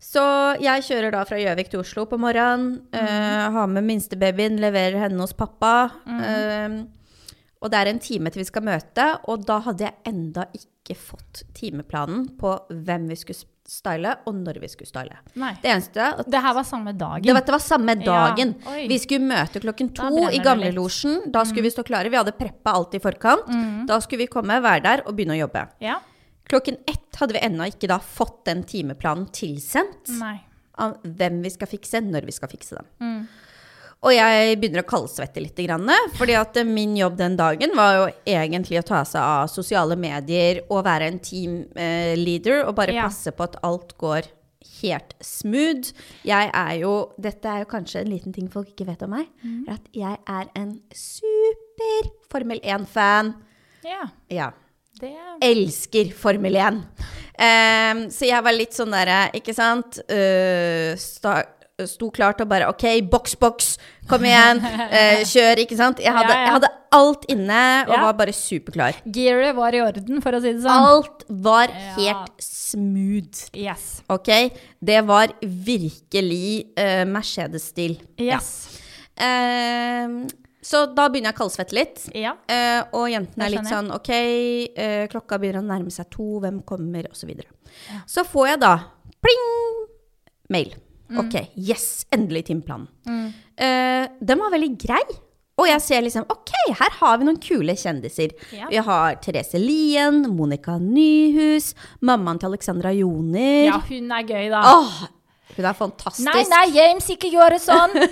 [SPEAKER 1] så jeg kjører da fra Gjøvik til Oslo på morgenen.
[SPEAKER 2] Mhm.
[SPEAKER 1] Eh, har med minstebabyen, leverer henne hos pappa. Eh, og det er en time til vi skal møte, og da hadde jeg enda ikke fått timeplanen på hvem vi skulle style, og når vi skulle style.
[SPEAKER 2] Nei.
[SPEAKER 1] Det eneste at
[SPEAKER 2] Det her var samme dagen.
[SPEAKER 1] det var, det var samme dagen.
[SPEAKER 2] Ja, oi.
[SPEAKER 1] vi skulle møte klokken
[SPEAKER 2] Da
[SPEAKER 1] to
[SPEAKER 2] brenner
[SPEAKER 1] i
[SPEAKER 2] det Mhm.
[SPEAKER 1] Gamlelosjen. Da skulle vi stå klare. Vi hadde preppa alt i forkant. Da skulle vi komme, være der og begynne å jobbe.
[SPEAKER 2] Ja.
[SPEAKER 1] Klokken ett hadde vi ennå ikke da fått den timeplanen tilsendt
[SPEAKER 2] Nei. Mm.
[SPEAKER 1] av hvem vi skal fikse, når vi skal fikse dem. Og jeg begynner å kaldsvette litt, grann, fordi at eh, min jobb den dagen var jo egentlig å ta seg av sosiale medier og være en teamleader leader og bare
[SPEAKER 2] Ja.
[SPEAKER 1] passe på at alt går helt smooth. Jeg er jo, dette er jo kanskje en liten ting folk ikke vet om meg, er at jeg er en super Formel 1-fan.
[SPEAKER 2] Ja.
[SPEAKER 1] Ja
[SPEAKER 2] Det
[SPEAKER 1] Eh. elsker Formel 1. Ehm, så jeg var litt sånn derre, ikke sant Eh, sta, Sto klar til å bare OK, boks, boks, kom igjen, eh, kjør, ikke sant? Jeg hadde,
[SPEAKER 2] Ja, ja.
[SPEAKER 1] jeg hadde alt inne og
[SPEAKER 2] Ja.
[SPEAKER 1] var bare superklar.
[SPEAKER 2] Gearet var i orden, for å si det sånn.
[SPEAKER 1] Alt var
[SPEAKER 2] Ja.
[SPEAKER 1] helt smooth,
[SPEAKER 2] Yes.
[SPEAKER 1] OK? Det var virkelig eh, Mercedes-stil. Ja.
[SPEAKER 2] Yes.
[SPEAKER 1] Ehm, så da begynner jeg å kaldsvette litt.
[SPEAKER 2] Ja.
[SPEAKER 1] Eh, og jentene
[SPEAKER 2] Det
[SPEAKER 1] er litt
[SPEAKER 2] skjønner
[SPEAKER 1] sånn OK, eh, klokka begynner å nærme seg to, hvem kommer, osv. Så, videre. så får jeg da pling! Mail.
[SPEAKER 2] Mm.
[SPEAKER 1] OK, yes, endelig timeplanen. Eh, den var veldig grei. Og jeg ser liksom OK, her har vi noen kule kjendiser.
[SPEAKER 2] Ja.
[SPEAKER 1] Vi har Therese Lien, Monica Nyhus, mammaen til Alexandra Joner.
[SPEAKER 2] ja, hun er gøy, da.
[SPEAKER 1] Åh, hun er fantastisk.
[SPEAKER 2] Nei, nei, James, ikke gjør det sånn!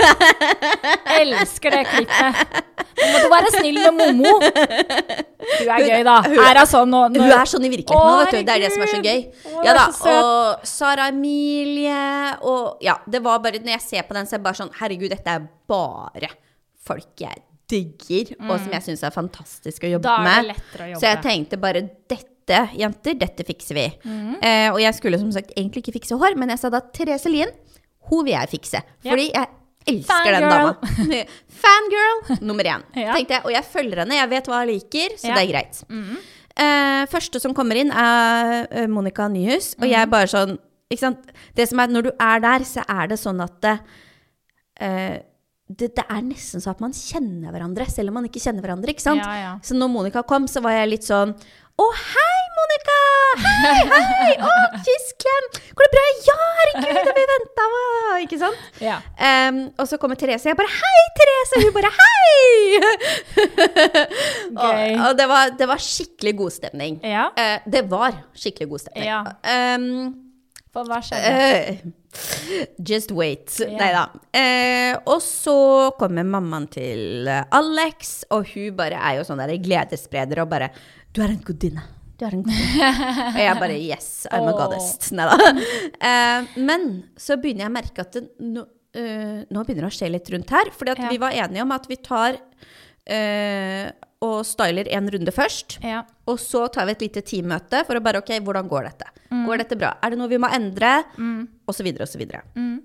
[SPEAKER 2] Elsker det klippet. Nå må du være snill med Momo. Du er gøy, da. Er hun sånn nå?
[SPEAKER 1] Hun er sånn i virkeligheten nå,
[SPEAKER 2] Å,
[SPEAKER 1] vet du. Det er det som er så gøy.
[SPEAKER 2] herregud. Å,
[SPEAKER 1] Ja
[SPEAKER 2] hun
[SPEAKER 1] da,
[SPEAKER 2] er så søt.
[SPEAKER 1] og Sara Emilie og Ja, det var bare Når jeg ser på den, så er jeg bare sånn Herregud, dette er bare folk jeg digger, og som jeg syns er fantastisk å jobbe
[SPEAKER 2] Mm. Da er det
[SPEAKER 1] med.
[SPEAKER 2] lettere å jobbe.
[SPEAKER 1] Så jeg tenkte bare dette, jenter, dette fikser vi.
[SPEAKER 2] Mhm.
[SPEAKER 1] Eh, og jeg skulle som sagt egentlig ikke fikse hår, men jeg sa da Therese Lien, hun vil jeg fikse.
[SPEAKER 2] Ja.
[SPEAKER 1] Fordi jeg elsker den
[SPEAKER 2] Fangirl.
[SPEAKER 1] dama. Fangirl nummer én.
[SPEAKER 2] Ja.
[SPEAKER 1] tenkte jeg, og jeg følger henne, jeg vet hva jeg liker, så
[SPEAKER 2] Ja. Mhm.
[SPEAKER 1] det er greit. eh, første som kommer inn, er eh, Monica Nyhus, og
[SPEAKER 2] Mhm.
[SPEAKER 1] jeg bare sånn ikke sant? Det som er, Når du er der, så er det sånn at det, eh, det, det er nesten så at man kjenner hverandre, selv om man ikke kjenner hverandre. ikke sant?
[SPEAKER 2] Ja, ja.
[SPEAKER 1] Så når Monica kom, så var jeg litt sånn Å, hei, Monica! Hei, hei! Å, kyss, klem! Går det bra? Ja, herregud, det har vi venta Ikke sant?
[SPEAKER 2] Ja.
[SPEAKER 1] Em, og så kommer Therese, og jeg bare 'Hei, Therese!' Og hun bare 'Hei!'
[SPEAKER 2] Gøy.
[SPEAKER 1] Og, og det, var, det var skikkelig god stemning.
[SPEAKER 2] Ja.
[SPEAKER 1] Eh, det var skikkelig god stemning.
[SPEAKER 2] Ja.
[SPEAKER 1] Em,
[SPEAKER 2] For hva skjedde?
[SPEAKER 1] Eh, just wait. Nei da. Eh, og så kommer mammaen til eh, Alex, og hun bare er jo sånn der gledesspreder og bare 'Du er en gudinne. Du er en gudinne.' og jeg bare 'Yes, I'm a
[SPEAKER 2] Åh.
[SPEAKER 1] goddess'. Nei da. Eh, men så begynner jeg å merke at det, nå, eh, nå begynner det å skje litt rundt her. Fordi at
[SPEAKER 2] Ja.
[SPEAKER 1] vi var enige om at vi tar eh, og styler en runde først.
[SPEAKER 2] Ja.
[SPEAKER 1] Og så tar vi et lite teammøte for å bare OK, hvordan går dette?
[SPEAKER 2] Mm.
[SPEAKER 1] Går dette bra? Er det noe vi må endre? Og så videre og så videre.
[SPEAKER 2] Mm.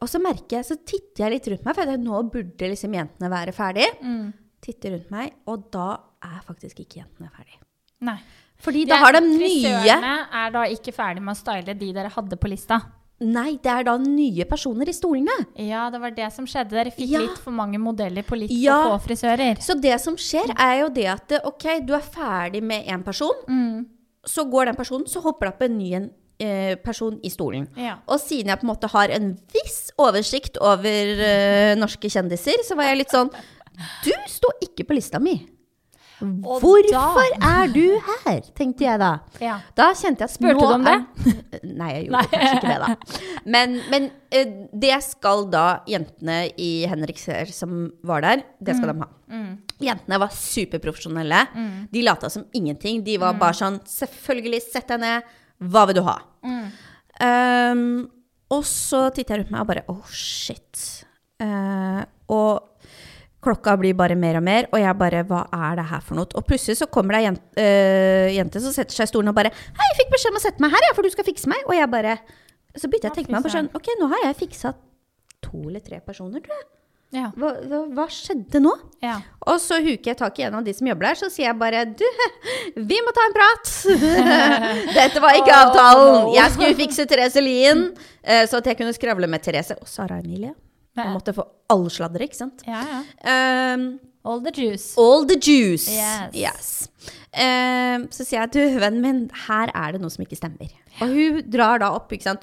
[SPEAKER 1] Og så merker jeg, så titter jeg litt rundt meg, for jeg tenker, nå burde liksom jentene være ferdig.
[SPEAKER 2] Mm.
[SPEAKER 1] Titter rundt meg, og da er faktisk ikke jentene ferdig.
[SPEAKER 2] Nei.
[SPEAKER 1] Fordi da har de nye
[SPEAKER 2] Frisørene er da ikke ferdig med å style de dere hadde på lista.
[SPEAKER 1] Nei, det er da nye personer i stolene.
[SPEAKER 2] Ja, det var det som skjedde. Dere fikk
[SPEAKER 1] Ja.
[SPEAKER 2] litt for mange modeller på litt
[SPEAKER 1] Ja.
[SPEAKER 2] for få frisører.
[SPEAKER 1] Så det som skjer, er jo det at OK, du er ferdig med én person.
[SPEAKER 2] Mm.
[SPEAKER 1] Så går den personen, så hopper det opp en ny en, eh, person i stolen.
[SPEAKER 2] Ja.
[SPEAKER 1] Og siden jeg på en måte har en viss oversikt over eh, norske kjendiser, så var jeg litt sånn Du sto ikke på lista mi.
[SPEAKER 2] Og
[SPEAKER 1] Hvorfor er du her? tenkte jeg da.
[SPEAKER 2] Ja.
[SPEAKER 1] Da kjente jeg at
[SPEAKER 2] Spurte
[SPEAKER 1] nå
[SPEAKER 2] du om
[SPEAKER 1] er- Nei, jeg gjorde kanskje ikke det, da. Men, men eh, det skal da jentene i Henrik Ser som var der, det
[SPEAKER 2] Mm.
[SPEAKER 1] skal de ha. Jentene var superprofesjonelle. De lata som ingenting. De
[SPEAKER 2] Mm.
[SPEAKER 1] var bare sånn Selvfølgelig, sett deg ned. Hva vil du ha? Ehm, og så titter jeg rundt meg og bare Oh, shit. Eh, og klokka blir bare mer og mer, og jeg bare Hva er det her for noe? Og plutselig så kommer det ei jente, eh, jente som setter seg i stolen og bare Hei, jeg fikk beskjed om å sette meg her, jeg, for du skal fikse meg. Og jeg bare Så begynte jeg å tenke meg om og skjønne Ok, nå har jeg fiksa to eller tre personer, tror jeg.
[SPEAKER 2] Ja.
[SPEAKER 1] Hva, hva, hva skjedde nå?
[SPEAKER 2] ja.
[SPEAKER 1] Og så huker jeg tak i en av de som jobber der, så sier jeg bare Du, vi må ta en prat! Dette var ikke
[SPEAKER 2] Oh,
[SPEAKER 1] avtalen!
[SPEAKER 2] no.
[SPEAKER 1] Jeg skulle fikse Therese Lien, eh, så at jeg kunne skravle med Therese og Sara Emilie. Jeg måtte få all sladder, ikke sant?
[SPEAKER 2] ja, ja.
[SPEAKER 1] Um,
[SPEAKER 2] All the juice.
[SPEAKER 1] all the juice.
[SPEAKER 2] Yes.
[SPEAKER 1] Um, så sier jeg, du, vennen min, her er det noe som ikke stemmer. Og hun drar da opp, ikke sant.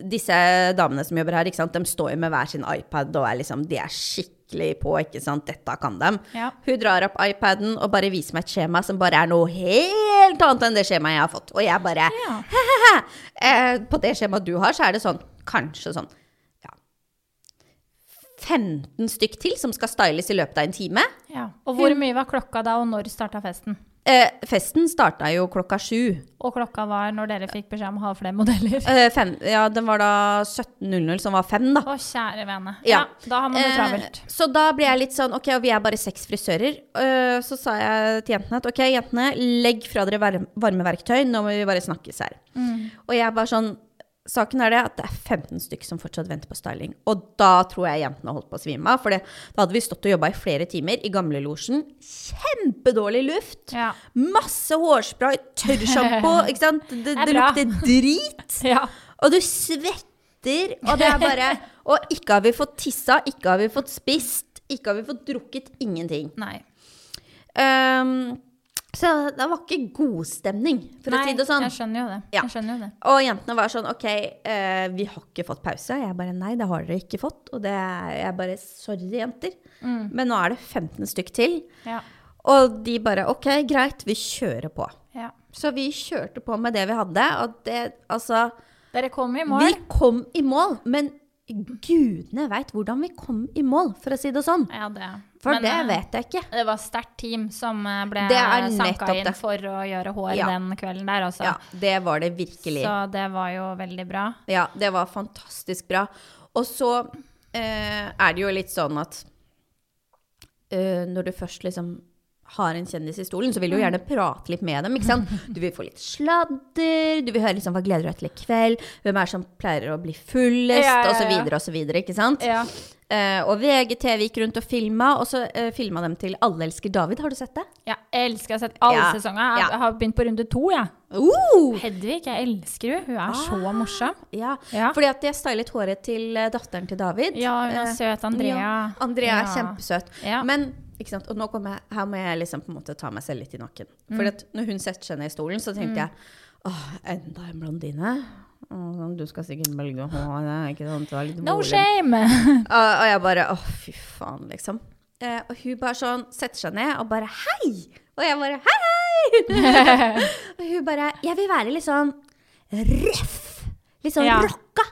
[SPEAKER 1] Disse damene som jobber her, ikke sant, de står jo med hver sin iPad og er liksom, de er skikkelig på, ikke sant. Dette kan dem.
[SPEAKER 2] Ja.
[SPEAKER 1] Hun drar opp iPaden og bare viser meg et skjema som bare er noe helt annet enn det skjemaet jeg har fått. Og jeg bare
[SPEAKER 2] Ja.
[SPEAKER 1] eh, På det skjemaet du har, så er det sånn kanskje sånn ja, 15 stykk til som skal styles i løpet av en time.
[SPEAKER 2] Ja. Og hvor mye var klokka da, og når starta festen?
[SPEAKER 1] Eh, festen starta jo klokka sju.
[SPEAKER 2] Og klokka var når dere fikk beskjed om å ha flere modeller.
[SPEAKER 1] Eh, fem, ja, den var da 17.00, som var fem, da.
[SPEAKER 2] Å, kjære vene. Ja.
[SPEAKER 1] Ja.
[SPEAKER 2] Da har man det travelt.
[SPEAKER 1] Eh, så da ble jeg litt sånn Ok, og vi er bare seks frisører. Eh, så sa jeg til jentene at ok, jentene, legg fra dere varm- varme verktøy, nå må vi bare snakkes her. Og jeg bare sånn Saken er det at det er 15 stykker som fortsatt venter på styling. Og da tror jeg jentene holdt på å svime av, for det, da hadde vi stått og jobba i flere timer i gamlelosjen. Kjempedårlig luft.
[SPEAKER 2] Ja.
[SPEAKER 1] Masse hårspray, tørrsjampo, ikke sant. Det, det,
[SPEAKER 2] Det er bra.
[SPEAKER 1] lukter drit.
[SPEAKER 2] ja.
[SPEAKER 1] Og du svetter, og det er bare Og ikke har vi fått tissa, ikke har vi fått spist, ikke har vi fått drukket ingenting.
[SPEAKER 2] Nei.
[SPEAKER 1] Ehm, så det var ikke god stemning, for
[SPEAKER 2] Nei,
[SPEAKER 1] å si det sånn.
[SPEAKER 2] Jeg skjønner jo det.
[SPEAKER 1] Ja.
[SPEAKER 2] Jeg skjønner jo det.
[SPEAKER 1] Og jentene var sånn OK, eh, vi har ikke fått pause. Og jeg bare nei, det har dere ikke fått. Og det er jeg bare sorry, jenter. Men nå er det 15 stykk til.
[SPEAKER 2] Mm. Ja.
[SPEAKER 1] Og de bare OK, greit, vi kjører på.
[SPEAKER 2] ja.
[SPEAKER 1] Så vi kjørte på med det vi hadde, og det altså
[SPEAKER 2] Dere kom i mål.
[SPEAKER 1] Vi kom i mål, men gudene veit hvordan vi kom i mål, for å si det sånn.
[SPEAKER 2] Ja, det.
[SPEAKER 1] For
[SPEAKER 2] Men,
[SPEAKER 1] det
[SPEAKER 2] eh,
[SPEAKER 1] vet jeg ikke.
[SPEAKER 2] Det var sterkt team som eh, ble
[SPEAKER 1] Det er
[SPEAKER 2] sanka
[SPEAKER 1] nettopp
[SPEAKER 2] inn
[SPEAKER 1] det.
[SPEAKER 2] for å gjøre hår
[SPEAKER 1] Ja.
[SPEAKER 2] den kvelden der, altså.
[SPEAKER 1] Ja, det var det virkelig.
[SPEAKER 2] Så det var jo veldig bra.
[SPEAKER 1] Ja, det var fantastisk bra. Og så eh, er det jo litt sånn at eh, når du først liksom har en kjendis i stolen, så vil du jo
[SPEAKER 2] Mm.
[SPEAKER 1] gjerne prate litt med dem. ikke sant? Du vil få litt sladder, du vil høre liksom, hva gleder du deg til i kveld, hvem er det som pleier å bli fullest,
[SPEAKER 2] Ja, ja, ja.
[SPEAKER 1] og så videre og så videre, ikke sant?
[SPEAKER 2] Ja.
[SPEAKER 1] Eh, og VGTV gikk rundt og filma, og så uh, filma dem til Alle elsker David. Har du sett det?
[SPEAKER 2] Jeg elsker å sette alle
[SPEAKER 1] Ja.
[SPEAKER 2] sesonger. Jeg
[SPEAKER 1] Ja.
[SPEAKER 2] jeg har begynt på runde to, jeg.
[SPEAKER 1] Uh!
[SPEAKER 2] Hedvig, jeg elsker henne. Hun er
[SPEAKER 1] Ah.
[SPEAKER 2] så morsom.
[SPEAKER 1] Ja.
[SPEAKER 2] Ja.
[SPEAKER 1] Fordi at jeg stylet håret til eh, datteren til David.
[SPEAKER 2] Ja, hun er
[SPEAKER 1] Eh,
[SPEAKER 2] søt, Andrea.
[SPEAKER 1] ja, Andrea er
[SPEAKER 2] Ja.
[SPEAKER 1] kjempesøt.
[SPEAKER 2] Ja.
[SPEAKER 1] Men ikke sant? Og nå kommer jeg, her må jeg liksom på en måte ta meg selv litt i nakken.
[SPEAKER 2] Mm.
[SPEAKER 1] For at når hun setter seg ned i stolen, så tenkte jeg åh, enda en blondine. Åh, sånn, Du skal sikkert velge håret, ikke sant? Du er litt
[SPEAKER 2] No
[SPEAKER 1] volum.
[SPEAKER 2] shame!
[SPEAKER 1] Og, og jeg bare Å, fy faen, liksom. Eh, og hun bare sånn setter seg ned og bare Hei! Og jeg bare Hei, hei! og hun bare Jeg vil være litt sånn røff. Litt sånn
[SPEAKER 2] Ja.
[SPEAKER 1] rocka.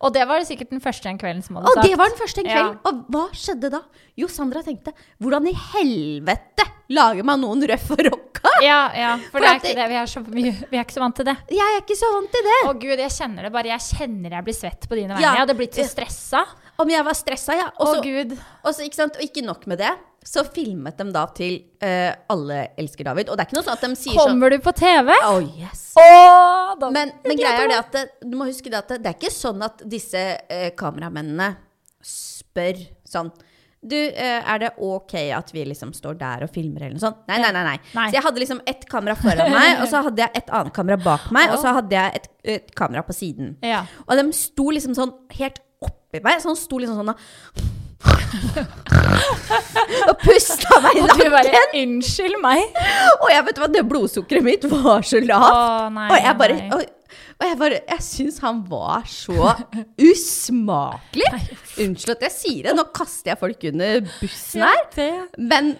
[SPEAKER 2] Og det var det sikkveld den første en kvelden som hadde
[SPEAKER 1] Og
[SPEAKER 2] sagt.
[SPEAKER 1] det var den første en
[SPEAKER 2] Ja.
[SPEAKER 1] kveld. Og hva skjedde da? Jo, Sandra tenkte Hvordan i helvete lager man noen røff og rocka?
[SPEAKER 2] Ja, ja, for,
[SPEAKER 1] For
[SPEAKER 2] det er
[SPEAKER 1] at
[SPEAKER 2] ikke
[SPEAKER 1] det-
[SPEAKER 2] det. Vi er, så mye, vi er ikke så vant til det.
[SPEAKER 1] Jeg er ikke så vant til det.
[SPEAKER 2] Å gud, jeg kjenner det bare. Jeg kjenner jeg blir svett på dine vegne.
[SPEAKER 1] Ja.
[SPEAKER 2] Jeg hadde blitt så stressa.
[SPEAKER 1] Om jeg var stressa, ja. Og
[SPEAKER 2] Å
[SPEAKER 1] så
[SPEAKER 2] gud.
[SPEAKER 1] Og, så, ikke sant? og ikke nok med det, så filmet de da til eh, Alle elsker David. Og det er ikke noe sånn at de sier sånn
[SPEAKER 2] Kommer du på TV?
[SPEAKER 1] Oh, yes.
[SPEAKER 2] Å, da
[SPEAKER 1] Men, men greia er det at det, du må huske det at det, det er ikke sånn at disse eh, kameramennene spør sånn du, eh, er det ok at vi liksom står der og filmer eller noe sånt? Nei, nei, nei. nei.
[SPEAKER 2] Nei.
[SPEAKER 1] Så jeg hadde liksom ett kamera foran meg, og så hadde jeg et annet kamera bak meg, og så hadde jeg et, et kamera på siden.
[SPEAKER 2] Ja.
[SPEAKER 1] Og de sto liksom sånn helt oppi meg, så han sto liksom sånn og Og pusta meg i
[SPEAKER 2] Og du bare
[SPEAKER 1] nakken!
[SPEAKER 2] Unnskyld meg.
[SPEAKER 1] Og jeg vet hva, det blodsukkeret mitt var så lavt.
[SPEAKER 2] Å, nei,
[SPEAKER 1] og jeg bare
[SPEAKER 2] nei.
[SPEAKER 1] og, og jeg bare Jeg syns han var så usmakelig. Unnskyld at jeg sier det, nå kaster jeg folk under bussen her.
[SPEAKER 2] det-
[SPEAKER 1] Men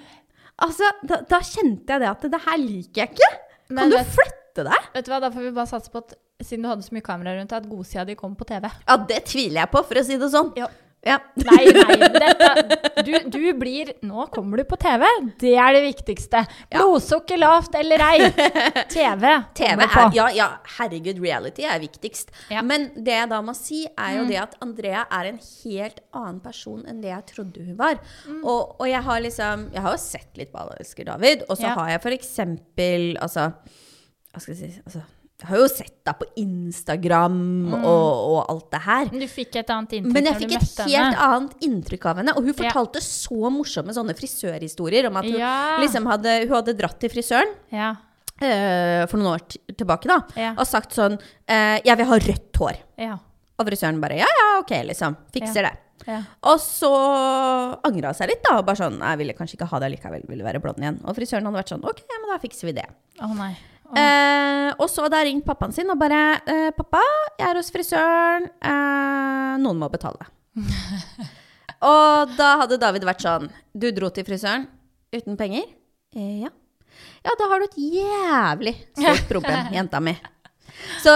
[SPEAKER 1] altså, da, da kjente jeg det at det her liker jeg ikke. Kan
[SPEAKER 2] Men
[SPEAKER 1] du
[SPEAKER 2] vet-
[SPEAKER 1] flytte deg?
[SPEAKER 2] Vet du hva, da får vi bare satse på at siden du hadde så mye kamera rundt deg, at godsida di kom på TV.
[SPEAKER 1] Ja, det tviler jeg på, for å si det sånn.
[SPEAKER 2] Ja.
[SPEAKER 1] Ja.
[SPEAKER 2] Nei, nei. Dette, du, du blir Nå kommer du på TV. Det er det viktigste. Blodsukker lavt eller ei. TV.
[SPEAKER 1] TV
[SPEAKER 2] kommer
[SPEAKER 1] er,
[SPEAKER 2] på.
[SPEAKER 1] ja, ja, herregud, reality er viktigst.
[SPEAKER 2] Ja. Mm.
[SPEAKER 1] Men det jeg da må si, er jo det at Andrea er en helt annen person enn det jeg trodde hun var.
[SPEAKER 2] Mm.
[SPEAKER 1] Og, og jeg har liksom Jeg har jo sett litt på Alle elsker David, og så
[SPEAKER 2] Ja.
[SPEAKER 1] har jeg for eksempel Altså, hva skal jeg si altså, Jeg har jo sett deg på Instagram og, og alt det her.
[SPEAKER 2] Men Du fikk et annet inntrykk
[SPEAKER 1] Men jeg
[SPEAKER 2] når
[SPEAKER 1] fikk
[SPEAKER 2] Mm. du
[SPEAKER 1] et
[SPEAKER 2] møtte
[SPEAKER 1] helt
[SPEAKER 2] henne.
[SPEAKER 1] annet inntrykk av henne. Og hun
[SPEAKER 2] Ja.
[SPEAKER 1] fortalte så morsomme sånne frisørhistorier om at hun,
[SPEAKER 2] Ja.
[SPEAKER 1] liksom hadde, hun hadde dratt til frisøren
[SPEAKER 2] Ja.
[SPEAKER 1] eh, for noen år t- tilbake da,
[SPEAKER 2] Ja.
[SPEAKER 1] og sagt sånn eh, 'Jeg vil ha rødt hår'.
[SPEAKER 2] Ja.
[SPEAKER 1] Og frisøren bare 'Ja, ja, ok', liksom. Fikser det.
[SPEAKER 2] Ja.
[SPEAKER 1] Og så angra hun seg litt, da. Og bare sånn 'Jeg ville kanskje ikke ha det likevel, ville være blond igjen'. Og frisøren hadde vært sånn 'Ok, ja, men da fikser vi det'.
[SPEAKER 2] Å nei. Å,
[SPEAKER 1] Eh, og så hadde jeg ringt pappaen sin og bare eh, 'Pappa, jeg er hos frisøren. Eh, noen må betale.' og da hadde David vært sånn 'Du dro til frisøren uten penger?' Eh, ja. Ja, da har du et jævlig stort problem, jenta mi. Så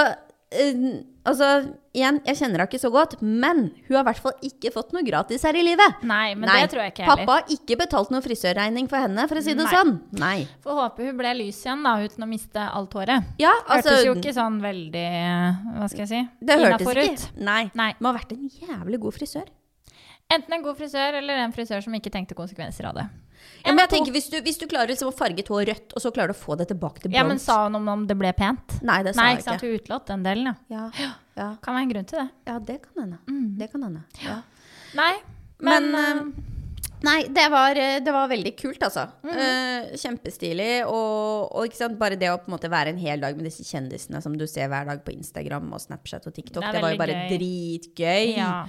[SPEAKER 1] eh, altså, igjen, jeg kjenner henne ikke så godt, men hun har i hvert fall ikke fått noe gratis her i livet.
[SPEAKER 2] Nei, men det tror jeg ikke heller.
[SPEAKER 1] Pappa har ikke betalt noen frisørregning for henne, for å si det
[SPEAKER 2] Nei.
[SPEAKER 1] sånn. Nei.
[SPEAKER 2] Får håpe hun ble lys igjen, da, uten å miste alt håret.
[SPEAKER 1] Ja, altså,
[SPEAKER 2] Hørtes jo ikke sånn veldig eh, Hva skal jeg si?
[SPEAKER 1] Det hørtes
[SPEAKER 2] Innenfor ut.
[SPEAKER 1] ikke. Nei.
[SPEAKER 2] Nei.
[SPEAKER 1] Må ha vært en jævlig god frisør.
[SPEAKER 2] Enten en god frisør eller en frisør som ikke tenkte konsekvenser av det.
[SPEAKER 1] Ja, men jeg
[SPEAKER 2] En god-
[SPEAKER 1] tenker, hvis du, hvis du klarer liksom å farge et hår rødt, og så klarer du å få det tilbake til blondt
[SPEAKER 2] ja, men sa hun om, om det ble pent?
[SPEAKER 1] Nei, det sa
[SPEAKER 2] Nei,
[SPEAKER 1] jeg
[SPEAKER 2] ikke sant?
[SPEAKER 1] ikke.
[SPEAKER 2] Hun utelot den delen, ja.
[SPEAKER 1] Ja, Mm. ja,
[SPEAKER 2] Kan være en grunn til det.
[SPEAKER 1] ja, det kan hende. Det kan hende. Ja.
[SPEAKER 2] Nei, men,
[SPEAKER 1] Men, Nei, det var, eh, det var veldig kult, altså. Eh, kjempestilig. Og, og ikke sant? bare det å på en måte være en hel dag med disse kjendisene som du ser hver dag på Instagram og Snapchat og TikTok,
[SPEAKER 2] Det
[SPEAKER 1] det,
[SPEAKER 2] er
[SPEAKER 1] var jo
[SPEAKER 2] veldig
[SPEAKER 1] bare
[SPEAKER 2] gøy.
[SPEAKER 1] dritgøy.
[SPEAKER 2] eh, ja.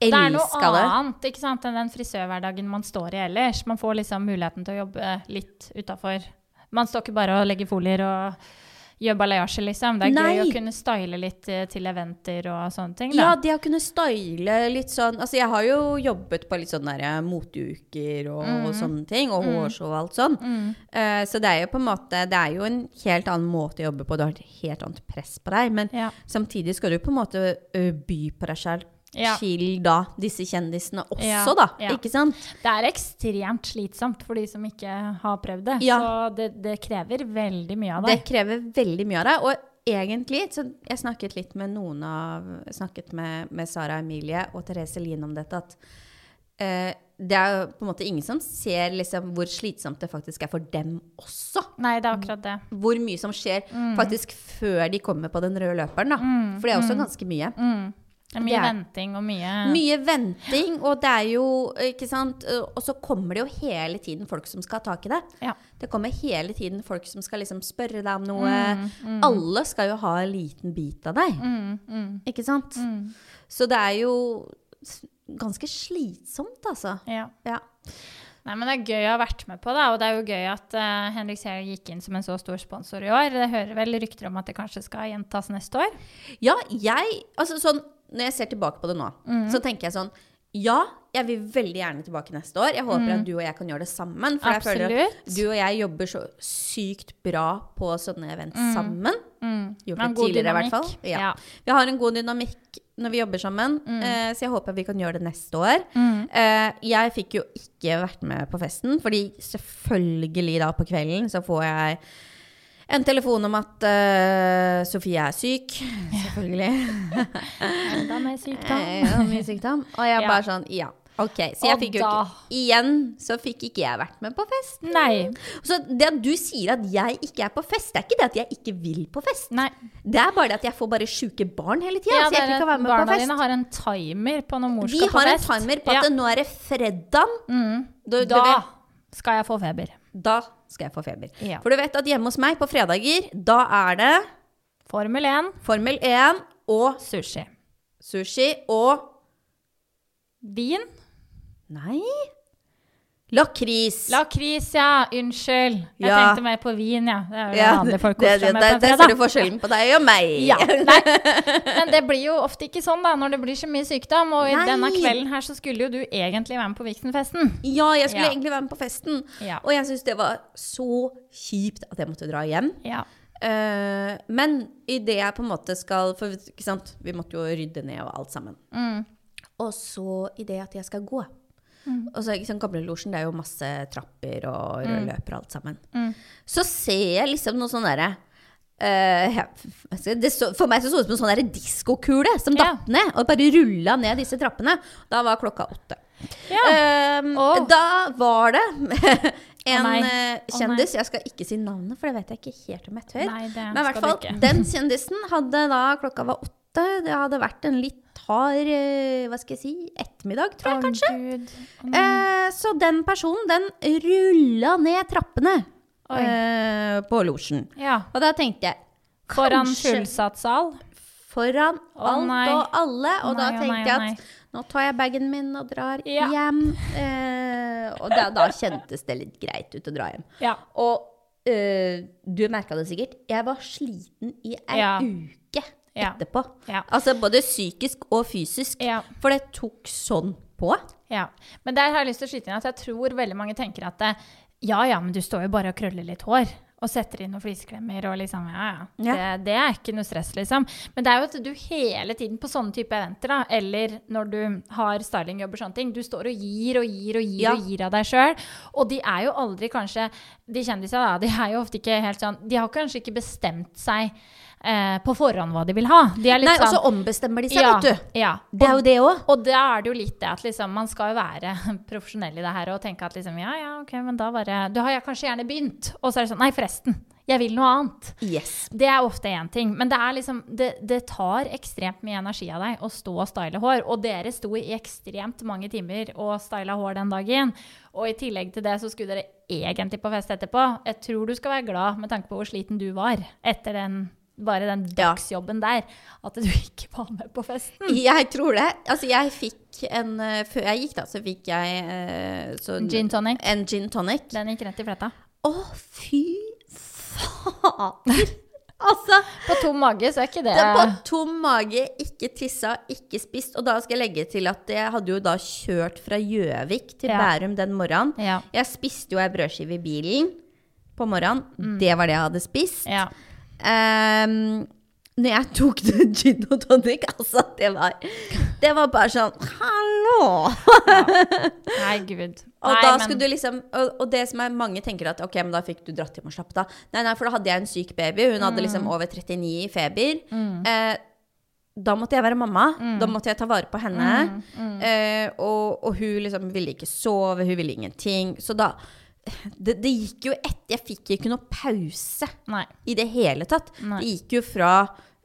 [SPEAKER 2] Det er noe
[SPEAKER 1] Elska eh, det.
[SPEAKER 2] annet ikke sant, enn den frisørhverdagen man står i ellers. Man får liksom muligheten til å jobbe litt utafor. Man står ikke bare og legger folier og gjør balayasje, liksom. Det er gøy
[SPEAKER 1] Nei.
[SPEAKER 2] å kunne style litt eh, til eventer og sånne ting. Da.
[SPEAKER 1] Ja, det å kunne style litt sånn Altså, jeg har jo jobbet på litt sånn der moteuker og,
[SPEAKER 2] Mm.
[SPEAKER 1] og sånne ting, og hårshow og alt sånn. Eh, så det er jo på en måte Det er jo en helt annen måte å jobbe på. Du har et helt annet press på deg, men
[SPEAKER 2] Ja.
[SPEAKER 1] samtidig skal du på en måte ø, by på deg selv
[SPEAKER 2] Ja.
[SPEAKER 1] til da disse kjendisene også,
[SPEAKER 2] Ja,
[SPEAKER 1] da.
[SPEAKER 2] ja.
[SPEAKER 1] Ikke sant?
[SPEAKER 2] Det er ekstremt slitsomt for de som ikke har prøvd det.
[SPEAKER 1] Ja.
[SPEAKER 2] Så det, det krever veldig mye av
[SPEAKER 1] Det
[SPEAKER 2] deg.
[SPEAKER 1] krever veldig mye av deg. Og egentlig, så jeg snakket litt med noen av jeg Snakket med, med Sara Emilie og Therese Lien om dette, at eh, det er jo på en måte ingen som ser liksom, hvor slitsomt det faktisk er for dem også.
[SPEAKER 2] Nei, det er akkurat det.
[SPEAKER 1] Hvor mye som skjer faktisk før de kommer på den røde løperen. Da. For det er også ganske mye.
[SPEAKER 2] Mm. Det er
[SPEAKER 1] Det
[SPEAKER 2] mye
[SPEAKER 1] er-
[SPEAKER 2] venting og mye
[SPEAKER 1] Mye venting, og det er jo Ikke sant? eh, Og så kommer det jo hele tiden folk som skal ha tak i det.
[SPEAKER 2] ja.
[SPEAKER 1] Det kommer hele tiden folk som skal liksom spørre deg om noe. Alle skal jo ha en liten bit av deg,
[SPEAKER 2] mm, mm,
[SPEAKER 1] ikke sant? Så det er jo s- ganske slitsomt, altså.
[SPEAKER 2] ja.
[SPEAKER 1] Ja.
[SPEAKER 2] Nei, men Det er gøy å ha vært med på, da, og det er jo gøy at eh, Henrik Seher gikk inn som en så stor sponsor i år. Det hører vel rykter om at det kanskje skal gjentas neste år.
[SPEAKER 1] ja, jeg Altså sånn, når jeg ser tilbake på det nå,
[SPEAKER 2] Mm.
[SPEAKER 1] så tenker jeg sånn Ja, jeg vil veldig gjerne tilbake neste år. Jeg håper at du og jeg kan gjøre det sammen. For jeg føler at
[SPEAKER 2] Mm. Absolutt.
[SPEAKER 1] du og jeg jobber så sykt bra på sånne event sammen.
[SPEAKER 2] Mm.
[SPEAKER 1] Gjort
[SPEAKER 2] Men
[SPEAKER 1] det
[SPEAKER 2] god
[SPEAKER 1] tidligere, i hvert fall.
[SPEAKER 2] dynamikk.
[SPEAKER 1] Ja.
[SPEAKER 2] Ja.
[SPEAKER 1] Vi har en god dynamikk når vi jobber sammen, eh, så jeg håper vi kan gjøre det neste år. Eh, jeg fikk jo ikke vært med på festen, fordi selvfølgelig da på kvelden så får jeg en telefon om at eh, Sofie er syk. Selvfølgelig.
[SPEAKER 2] Enda mer sykdom.
[SPEAKER 1] Eh, og mye sykdom. Og jeg
[SPEAKER 2] Ja.
[SPEAKER 1] bare sånn, ja. Ok, så jeg
[SPEAKER 2] Og
[SPEAKER 1] fikk jo
[SPEAKER 2] da-
[SPEAKER 1] ikke Igjen så fikk ikke jeg vært med på fest.
[SPEAKER 2] Nei.
[SPEAKER 1] Så det at du sier at jeg ikke er på fest, det er ikke det at jeg ikke vil på fest.
[SPEAKER 2] Nei.
[SPEAKER 1] Det er bare det at jeg får bare sjuke barn hele tida. så jeg
[SPEAKER 2] Ja, det
[SPEAKER 1] ikke
[SPEAKER 2] er-
[SPEAKER 1] kan være med
[SPEAKER 2] barna
[SPEAKER 1] på
[SPEAKER 2] dine
[SPEAKER 1] fest.
[SPEAKER 2] har en timer på når mor
[SPEAKER 1] Vi
[SPEAKER 2] skal på
[SPEAKER 1] har en
[SPEAKER 2] fest. Mm.
[SPEAKER 1] timer på at det nå er det fredag. Du- du
[SPEAKER 2] Da
[SPEAKER 1] vet-
[SPEAKER 2] skal jeg få feber.
[SPEAKER 1] da skal jeg få feber.
[SPEAKER 2] Ja.
[SPEAKER 1] For du vet at hjemme hos meg på fredager, da er det
[SPEAKER 2] Formel 1,
[SPEAKER 1] Formel 1 og
[SPEAKER 2] sushi.
[SPEAKER 1] sushi og
[SPEAKER 2] Vin?
[SPEAKER 1] Nei Lakris.
[SPEAKER 2] Lakris, ja. Unnskyld. Jeg
[SPEAKER 1] Ja.
[SPEAKER 2] tenkte mer på vin, ja. Det er jo
[SPEAKER 1] Ja,
[SPEAKER 2] vanlig folk
[SPEAKER 1] det-
[SPEAKER 2] koser seg
[SPEAKER 1] det-
[SPEAKER 2] med på
[SPEAKER 1] Der
[SPEAKER 2] en
[SPEAKER 1] der
[SPEAKER 2] fredag.
[SPEAKER 1] ser du forskjellen på deg og meg.
[SPEAKER 2] Ja, nei. Men det blir jo ofte ikke sånn da, når det blir så mye sykdom. Og i
[SPEAKER 1] Nei.
[SPEAKER 2] denne kvelden her så skulle jo du egentlig være med på Vixenfesten.
[SPEAKER 1] Ja, jeg skulle
[SPEAKER 2] Ja.
[SPEAKER 1] egentlig være med på festen.
[SPEAKER 2] Ja.
[SPEAKER 1] Og jeg syns det var så kjipt at jeg måtte dra hjem.
[SPEAKER 2] Ja.
[SPEAKER 1] Eh, men idet jeg på en måte skal For ikke sant, vi måtte jo rydde ned og alt sammen.
[SPEAKER 2] Mm.
[SPEAKER 1] Og så idet at jeg skal gå
[SPEAKER 2] Mm.
[SPEAKER 1] Og så ikke sant, Gamlelosjen, det er jo masse trapper og røde løper og alt sammen.
[SPEAKER 2] Mm.
[SPEAKER 1] Så ser jeg liksom noe sånn derre eh, jeg- hva skal jeg- det så, for meg så så det ut som en sånn derre diskokule som
[SPEAKER 2] Ja.
[SPEAKER 1] datt ned og bare rulla ned disse
[SPEAKER 2] Eh,
[SPEAKER 1] trappene. Da var klokka åtte.
[SPEAKER 2] Ja.
[SPEAKER 1] Ehm,
[SPEAKER 2] Åh.
[SPEAKER 1] Da var det En
[SPEAKER 2] nei.
[SPEAKER 1] eh,
[SPEAKER 2] Å,
[SPEAKER 1] kjendis, jeg skal ikke si navnet, for det vet jeg ikke helt om jeg tør.
[SPEAKER 2] Nei, det
[SPEAKER 1] Men i hvert
[SPEAKER 2] skal du
[SPEAKER 1] fall,
[SPEAKER 2] ikke.
[SPEAKER 1] den kjendisen hadde da klokka var åtte. Det hadde vært en litt hard eh, hva skal jeg si, ettermiddag, tror jeg kanskje.
[SPEAKER 2] Gud.
[SPEAKER 1] Eh, så den personen, den rulla ned trappene
[SPEAKER 2] Oi.
[SPEAKER 1] eh, på losjen.
[SPEAKER 2] Ja.
[SPEAKER 1] Og da tenkte jeg
[SPEAKER 2] Foran
[SPEAKER 1] kanskje
[SPEAKER 2] fullsatt sal.
[SPEAKER 1] Foran
[SPEAKER 2] Å,
[SPEAKER 1] alt
[SPEAKER 2] nei.
[SPEAKER 1] og alle. Og da
[SPEAKER 2] Nei, å,
[SPEAKER 1] tenkte
[SPEAKER 2] nei, å,
[SPEAKER 1] jeg at
[SPEAKER 2] nei.
[SPEAKER 1] nå tar jeg bagen min og drar
[SPEAKER 2] Ja.
[SPEAKER 1] hjem. Eh, og da, da kjentes det litt greit ut å dra hjem.
[SPEAKER 2] Ja.
[SPEAKER 1] Og eh, du merka det sikkert, jeg var sliten i ei
[SPEAKER 2] Ja.
[SPEAKER 1] uke
[SPEAKER 2] Ja.
[SPEAKER 1] etterpå.
[SPEAKER 2] Ja.
[SPEAKER 1] Altså både psykisk og fysisk.
[SPEAKER 2] Ja.
[SPEAKER 1] For det tok sånn på.
[SPEAKER 2] Ja, men der har jeg lyst til å skyte inn at jeg tror veldig mange tenker at eh, ja, ja, men du står jo bare og krøller litt hår. Og setter inn noen fliseklemmer og liksom ja, ja. Det, det er ikke noe stress, liksom. Men det er jo at du hele tiden på sånne type eventer, da, eller når du har stylingjobber og sånne ting, du står og gir og gir og gir
[SPEAKER 1] Ja.
[SPEAKER 2] og gir av deg sjøl. Og de er jo aldri kanskje De kjendisene, da, de er jo ofte ikke helt sånn De har kanskje ikke bestemt seg eh, på forhånd hva de vil ha. De er litt
[SPEAKER 1] Nei, og så
[SPEAKER 2] sånn
[SPEAKER 1] ombestemmer de seg, vet du.
[SPEAKER 2] Ja.
[SPEAKER 1] Det er jo det òg.
[SPEAKER 2] Og da er det jo litt det at liksom, man skal jo være profesjonell i det her og tenke at liksom, ja, ja, ok, men da bare Da har jeg kanskje gjerne begynt, og så er det sånn Nei, forresten. Jeg vil noe annet.
[SPEAKER 1] Yes.
[SPEAKER 2] Det er ofte én ting, men det, er liksom, det, det tar ekstremt mye energi av deg å stå og style hår. Og dere sto i ekstremt mange timer og styla hår den dagen. Og i tillegg til det så skulle dere egentlig på fest etterpå. Jeg tror du skal være glad med tanke på hvor sliten du var etter den, bare den
[SPEAKER 1] Ja.
[SPEAKER 2] dagsjobben der. At du ikke var med på festen.
[SPEAKER 1] Mm. Jeg tror det. Altså, jeg fikk en eh, Før jeg gikk, da, så fikk jeg eh, sånn-
[SPEAKER 2] Gin tonic.
[SPEAKER 1] En gin tonic.
[SPEAKER 2] Den gikk rett i fletta.
[SPEAKER 1] Å, fy fader! altså.
[SPEAKER 2] På tom mage så er ikke det,
[SPEAKER 1] Det er på tom mage, ikke tissa, ikke spist. Og da skal jeg legge til at jeg hadde jo da kjørt fra Gjøvik til
[SPEAKER 2] Ja.
[SPEAKER 1] Bærum den morgenen.
[SPEAKER 2] Ja.
[SPEAKER 1] Jeg spiste jo ei brødskive i bilen på morgenen. Det var det jeg hadde spist.
[SPEAKER 2] Ja.
[SPEAKER 1] Ehm, når jeg tok den gin og tonic, altså, det var Det var bare sånn Hallo!
[SPEAKER 2] Nei, gud.
[SPEAKER 1] Og
[SPEAKER 2] Nei,
[SPEAKER 1] da
[SPEAKER 2] men-
[SPEAKER 1] skulle du liksom og, og det som er mange tenker at ok, men da fikk du dratt hjem og slappet av. Nei, nei, for da hadde jeg en syk baby. Hun hadde liksom
[SPEAKER 2] Mm.
[SPEAKER 1] over 39 i feber. Eh, da måtte jeg være mamma.
[SPEAKER 2] Mm.
[SPEAKER 1] Da måtte jeg ta vare på henne. Eh, og, og hun liksom ville ikke sove, hun ville ingenting. Så da Det, det gikk jo etter Jeg fikk ikke noe pause
[SPEAKER 2] Nei.
[SPEAKER 1] i det hele tatt.
[SPEAKER 2] Nei.
[SPEAKER 1] Det gikk jo fra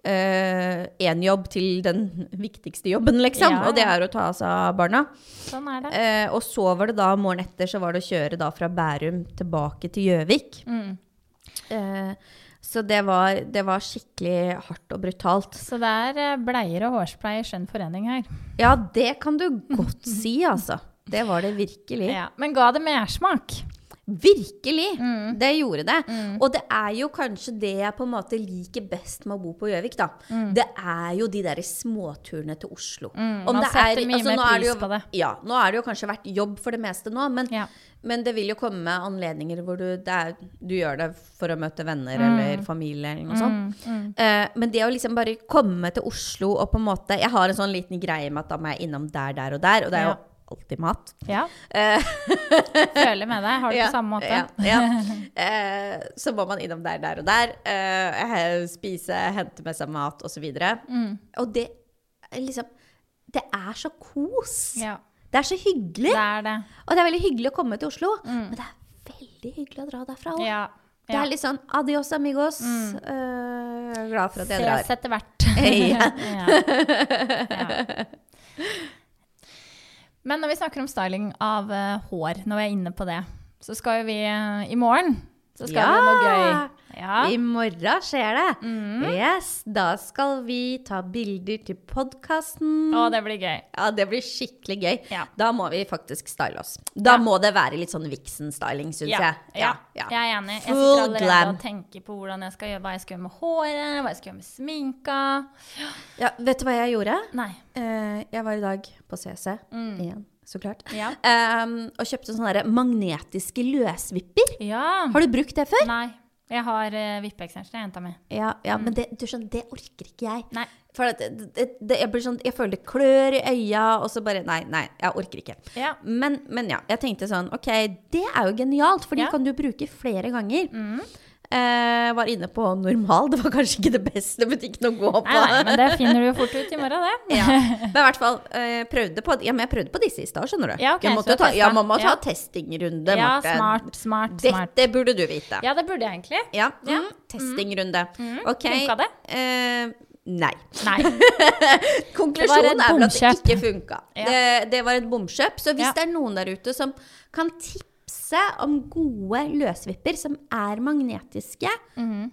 [SPEAKER 1] én jobb til den viktigste jobben, liksom.
[SPEAKER 2] Ja,
[SPEAKER 1] Og det
[SPEAKER 2] ja.
[SPEAKER 1] er å ta seg av barna.
[SPEAKER 2] Sånn er det.
[SPEAKER 1] Eh, og så var det da morgenen etter så var det å kjøre da fra Bærum tilbake til Gjøvik.
[SPEAKER 2] Mm.
[SPEAKER 1] Eh, så det var, det var skikkelig hardt og brutalt.
[SPEAKER 2] Så det er eh, bleier og hårspray i skjønn forening her.
[SPEAKER 1] Ja, det kan du godt si, altså. Det var det virkelig.
[SPEAKER 2] Ja. Men ga det mersmak?
[SPEAKER 1] Virkelig! Det gjorde det. Og det er jo kanskje det jeg på en måte liker best med å bo på Gjøvik, da. Det er jo de der småturene til Oslo.
[SPEAKER 2] man setter mye mer
[SPEAKER 1] nå er
[SPEAKER 2] pris
[SPEAKER 1] jo,
[SPEAKER 2] på det.
[SPEAKER 1] Ja, nå er det jo kanskje vært jobb for det meste nå, men,
[SPEAKER 2] Ja.
[SPEAKER 1] men det vil jo komme anledninger hvor du, det er, du gjør det for å møte
[SPEAKER 2] Mm.
[SPEAKER 1] venner eller familie eller noe sånt. Eh, men det å liksom bare komme til Oslo og på en måte Jeg har en sånn liten greie med at da må jeg innom der, der og der, og det er
[SPEAKER 2] Ja.
[SPEAKER 1] jo alltid mat.
[SPEAKER 2] Ja.
[SPEAKER 1] Eh,
[SPEAKER 2] Føler med deg. Har det på samme måte.
[SPEAKER 1] ja, ja. Eh, så må man innom der, der og der. Eh, he- spise, hente med seg mat osv. videre
[SPEAKER 2] Mm.
[SPEAKER 1] Og det er liksom Det er så kos.
[SPEAKER 2] Ja.
[SPEAKER 1] Det er så hyggelig.
[SPEAKER 2] Det er det.
[SPEAKER 1] Og det er veldig hyggelig å komme til Oslo,
[SPEAKER 2] Mm.
[SPEAKER 1] men det er veldig hyggelig å dra derfra òg.
[SPEAKER 2] Ja.
[SPEAKER 1] Det
[SPEAKER 2] ja.
[SPEAKER 1] er litt sånn adios amigos. Eh, jeg er glad for at jeg drar.
[SPEAKER 2] Ses etter hvert.
[SPEAKER 1] Ja.
[SPEAKER 2] Ja. Men når vi snakker om styling av eh, hår, når vi er inne på det, så skal jo vi eh, i morgen så skal
[SPEAKER 1] Ja!
[SPEAKER 2] vi noe gøy. Ja.
[SPEAKER 1] I morgen skjer det. Yes, da skal vi ta bilder til podkasten.
[SPEAKER 2] Å, det blir gøy.
[SPEAKER 1] Ja, det blir skikkelig gøy.
[SPEAKER 2] Ja.
[SPEAKER 1] Da må vi faktisk style oss. Da
[SPEAKER 2] Ja.
[SPEAKER 1] må det være litt sånn Vixen-styling, syns
[SPEAKER 2] Ja,
[SPEAKER 1] jeg.
[SPEAKER 2] ja, jeg er enig. Jeg sitter
[SPEAKER 1] Full
[SPEAKER 2] allerede
[SPEAKER 1] glam.
[SPEAKER 2] og tenker på hvordan jeg skal gjøre, hva jeg skal gjøre med håret, hva jeg skal gjøre med sminka.
[SPEAKER 1] Ja, vet du hva jeg gjorde?
[SPEAKER 2] Nei.
[SPEAKER 1] Eh, jeg var i dag på CC igjen, så klart.
[SPEAKER 2] Ja.
[SPEAKER 1] Mm. Ehm, og kjøpte sånne der magnetiske løsvipper.
[SPEAKER 2] Ja.
[SPEAKER 1] Har du brukt det før?
[SPEAKER 2] Nei. Jeg har uh, vippeekstensjoner jeg henta med.
[SPEAKER 1] Ja, ja men det, du skjønner, det orker ikke jeg.
[SPEAKER 2] Nei.
[SPEAKER 1] For at det, det, det, jeg, blir sånn, jeg føler det klør i øya, og så bare Nei, nei, jeg orker ikke.
[SPEAKER 2] Ja.
[SPEAKER 1] Men, men ja, jeg tenkte sånn Ok, det er jo genialt, for de
[SPEAKER 2] Ja. Mm.
[SPEAKER 1] kan du bruke flere ganger. Eh, var inne på normal. Det var kanskje ikke det beste butikken å gå på.
[SPEAKER 2] Nei, nei, men det finner du jo fort ut i morgen, det.
[SPEAKER 1] ja. Men i hvert fall, eh, prøvde på, ja, men jeg prøvde på disse i stad, skjønner du.
[SPEAKER 2] Ja, ok,
[SPEAKER 1] jeg
[SPEAKER 2] så
[SPEAKER 1] måtte jo ta,
[SPEAKER 2] testa.
[SPEAKER 1] ja, man må ta
[SPEAKER 2] Ja.
[SPEAKER 1] testingrunde,
[SPEAKER 2] ja,
[SPEAKER 1] Marte.
[SPEAKER 2] smart, smart, smart.
[SPEAKER 1] Dette burde du vite.
[SPEAKER 2] Ja, det burde jeg egentlig. Mm.
[SPEAKER 1] Ja, mm, testingrunde. Ok.
[SPEAKER 2] funka det?
[SPEAKER 1] Eh, nei.
[SPEAKER 2] Nei.
[SPEAKER 1] Konklusjonen
[SPEAKER 2] Det
[SPEAKER 1] er
[SPEAKER 2] var
[SPEAKER 1] vel
[SPEAKER 2] et
[SPEAKER 1] at det
[SPEAKER 2] bomkjøp.
[SPEAKER 1] ikke funka.
[SPEAKER 2] Ja.
[SPEAKER 1] Det, det var et bomkjøp. Så hvis
[SPEAKER 2] Ja.
[SPEAKER 1] det er noen der ute som kan tipse om gode løsvipper som er magnetiske,
[SPEAKER 2] Mhm.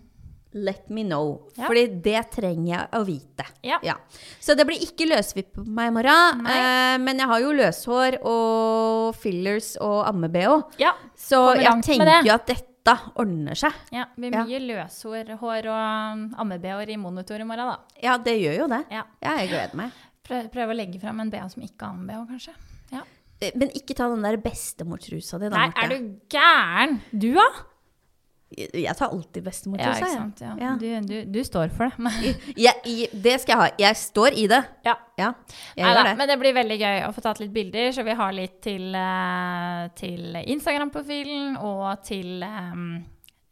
[SPEAKER 1] let me know.
[SPEAKER 2] Ja.
[SPEAKER 1] Fordi det trenger jeg å vite.
[SPEAKER 2] Ja.
[SPEAKER 1] Så det blir ikke løsvipp på meg i morgen. Eh, men jeg har jo løshår og fillers og amme-BH.
[SPEAKER 2] Ja.
[SPEAKER 1] Så
[SPEAKER 2] Kommer
[SPEAKER 1] jeg
[SPEAKER 2] langt med
[SPEAKER 1] tenker
[SPEAKER 2] det.
[SPEAKER 1] jo at dette ordner seg.
[SPEAKER 2] ja med
[SPEAKER 1] Ja.
[SPEAKER 2] mye løshår hår og amme-BH-er i monitor i morgen, da.
[SPEAKER 1] Ja, det gjør jo det.
[SPEAKER 2] Ja.
[SPEAKER 1] Ja, jeg gleder meg.
[SPEAKER 2] Prøv, prøv å legge fram en BH som ikke har amme-BH, kanskje. Ja.
[SPEAKER 1] Eh, Men ikke ta den der bestemortrusa di, da.
[SPEAKER 2] Nei,
[SPEAKER 1] Marte.
[SPEAKER 2] er du gæren? Du, da?
[SPEAKER 1] Jeg tar alltid
[SPEAKER 2] Ja,
[SPEAKER 1] bestemortrusa.
[SPEAKER 2] ikke
[SPEAKER 1] jeg.
[SPEAKER 2] sant. Ja.
[SPEAKER 1] Ja.
[SPEAKER 2] Du, du, du står for det.
[SPEAKER 1] Jeg- i- det skal jeg ha. Jeg står i det.
[SPEAKER 2] ja.
[SPEAKER 1] Ja, jeg
[SPEAKER 2] Neida,
[SPEAKER 1] gjør det.
[SPEAKER 2] Men det blir veldig gøy å få tatt litt bilder, så vi har litt til, eh, til Instagram-profilen og til eh,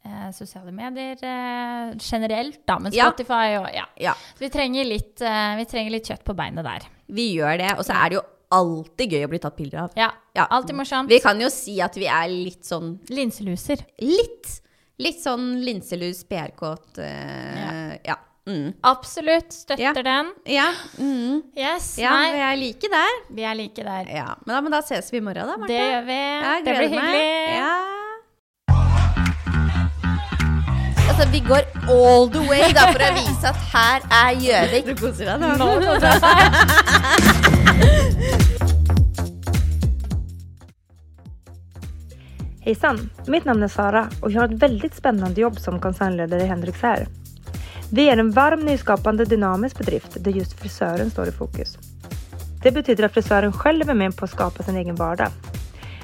[SPEAKER 2] eh, sosiale medier eh, generelt, da, men
[SPEAKER 1] Ja.
[SPEAKER 2] Spotify og ja.
[SPEAKER 1] Ja,
[SPEAKER 2] Så vi trenger litt, eh, vi trenger litt kjøtt på beinet der.
[SPEAKER 1] vi gjør det. Og så er det jo alltid gøy å bli tatt bilder av.
[SPEAKER 2] Ja.
[SPEAKER 1] Ja.
[SPEAKER 2] Alltid morsomt.
[SPEAKER 1] Vi kan jo si at vi er litt sånn
[SPEAKER 2] Linseluser.
[SPEAKER 1] Litt, litt sånn linselus, PR-kåt eh, ja. Mm.
[SPEAKER 2] Absolutt. Støtter
[SPEAKER 1] Ja.
[SPEAKER 2] den.
[SPEAKER 1] Ja, mm.
[SPEAKER 2] Yes.
[SPEAKER 1] ja, vi
[SPEAKER 2] Nei,
[SPEAKER 1] er like der.
[SPEAKER 2] vi er like der.
[SPEAKER 1] Ja. Men, da, men da ses vi i morgen, da, Marte.
[SPEAKER 2] Det gjør vi.
[SPEAKER 1] Jeg
[SPEAKER 2] det
[SPEAKER 1] gleder
[SPEAKER 2] blir
[SPEAKER 1] meg.
[SPEAKER 2] hyggelig.
[SPEAKER 1] Ja. Altså, vi går all the way da, for å vise at her er Gjøvik. Du koser deg nå.
[SPEAKER 2] Nå koser jeg meg.
[SPEAKER 3] Hej sann! Mitt namn är Sara och jag har ett väldigt spännande jobb som koncernledare i Hendrix här. Vi är en varm, nyskapande, dynamisk bedrift där just frisören står i fokus. Det betyder att frisören själv är med på att skapa sin egen vardag.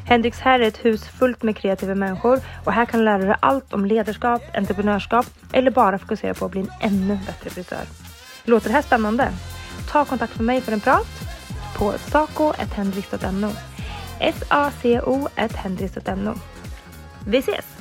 [SPEAKER 3] Hendrix här är ett hus fullt med kreativa människor och här kan du lära dig allt om ledarskap, entreprenörskap eller bara fokusera på att bli en ännu bättre frisör. Låter det här spännande? Ta kontakt med mig för en prat på saco.hendrix.no. S-A-C-O at hendrix.no. Vi ses!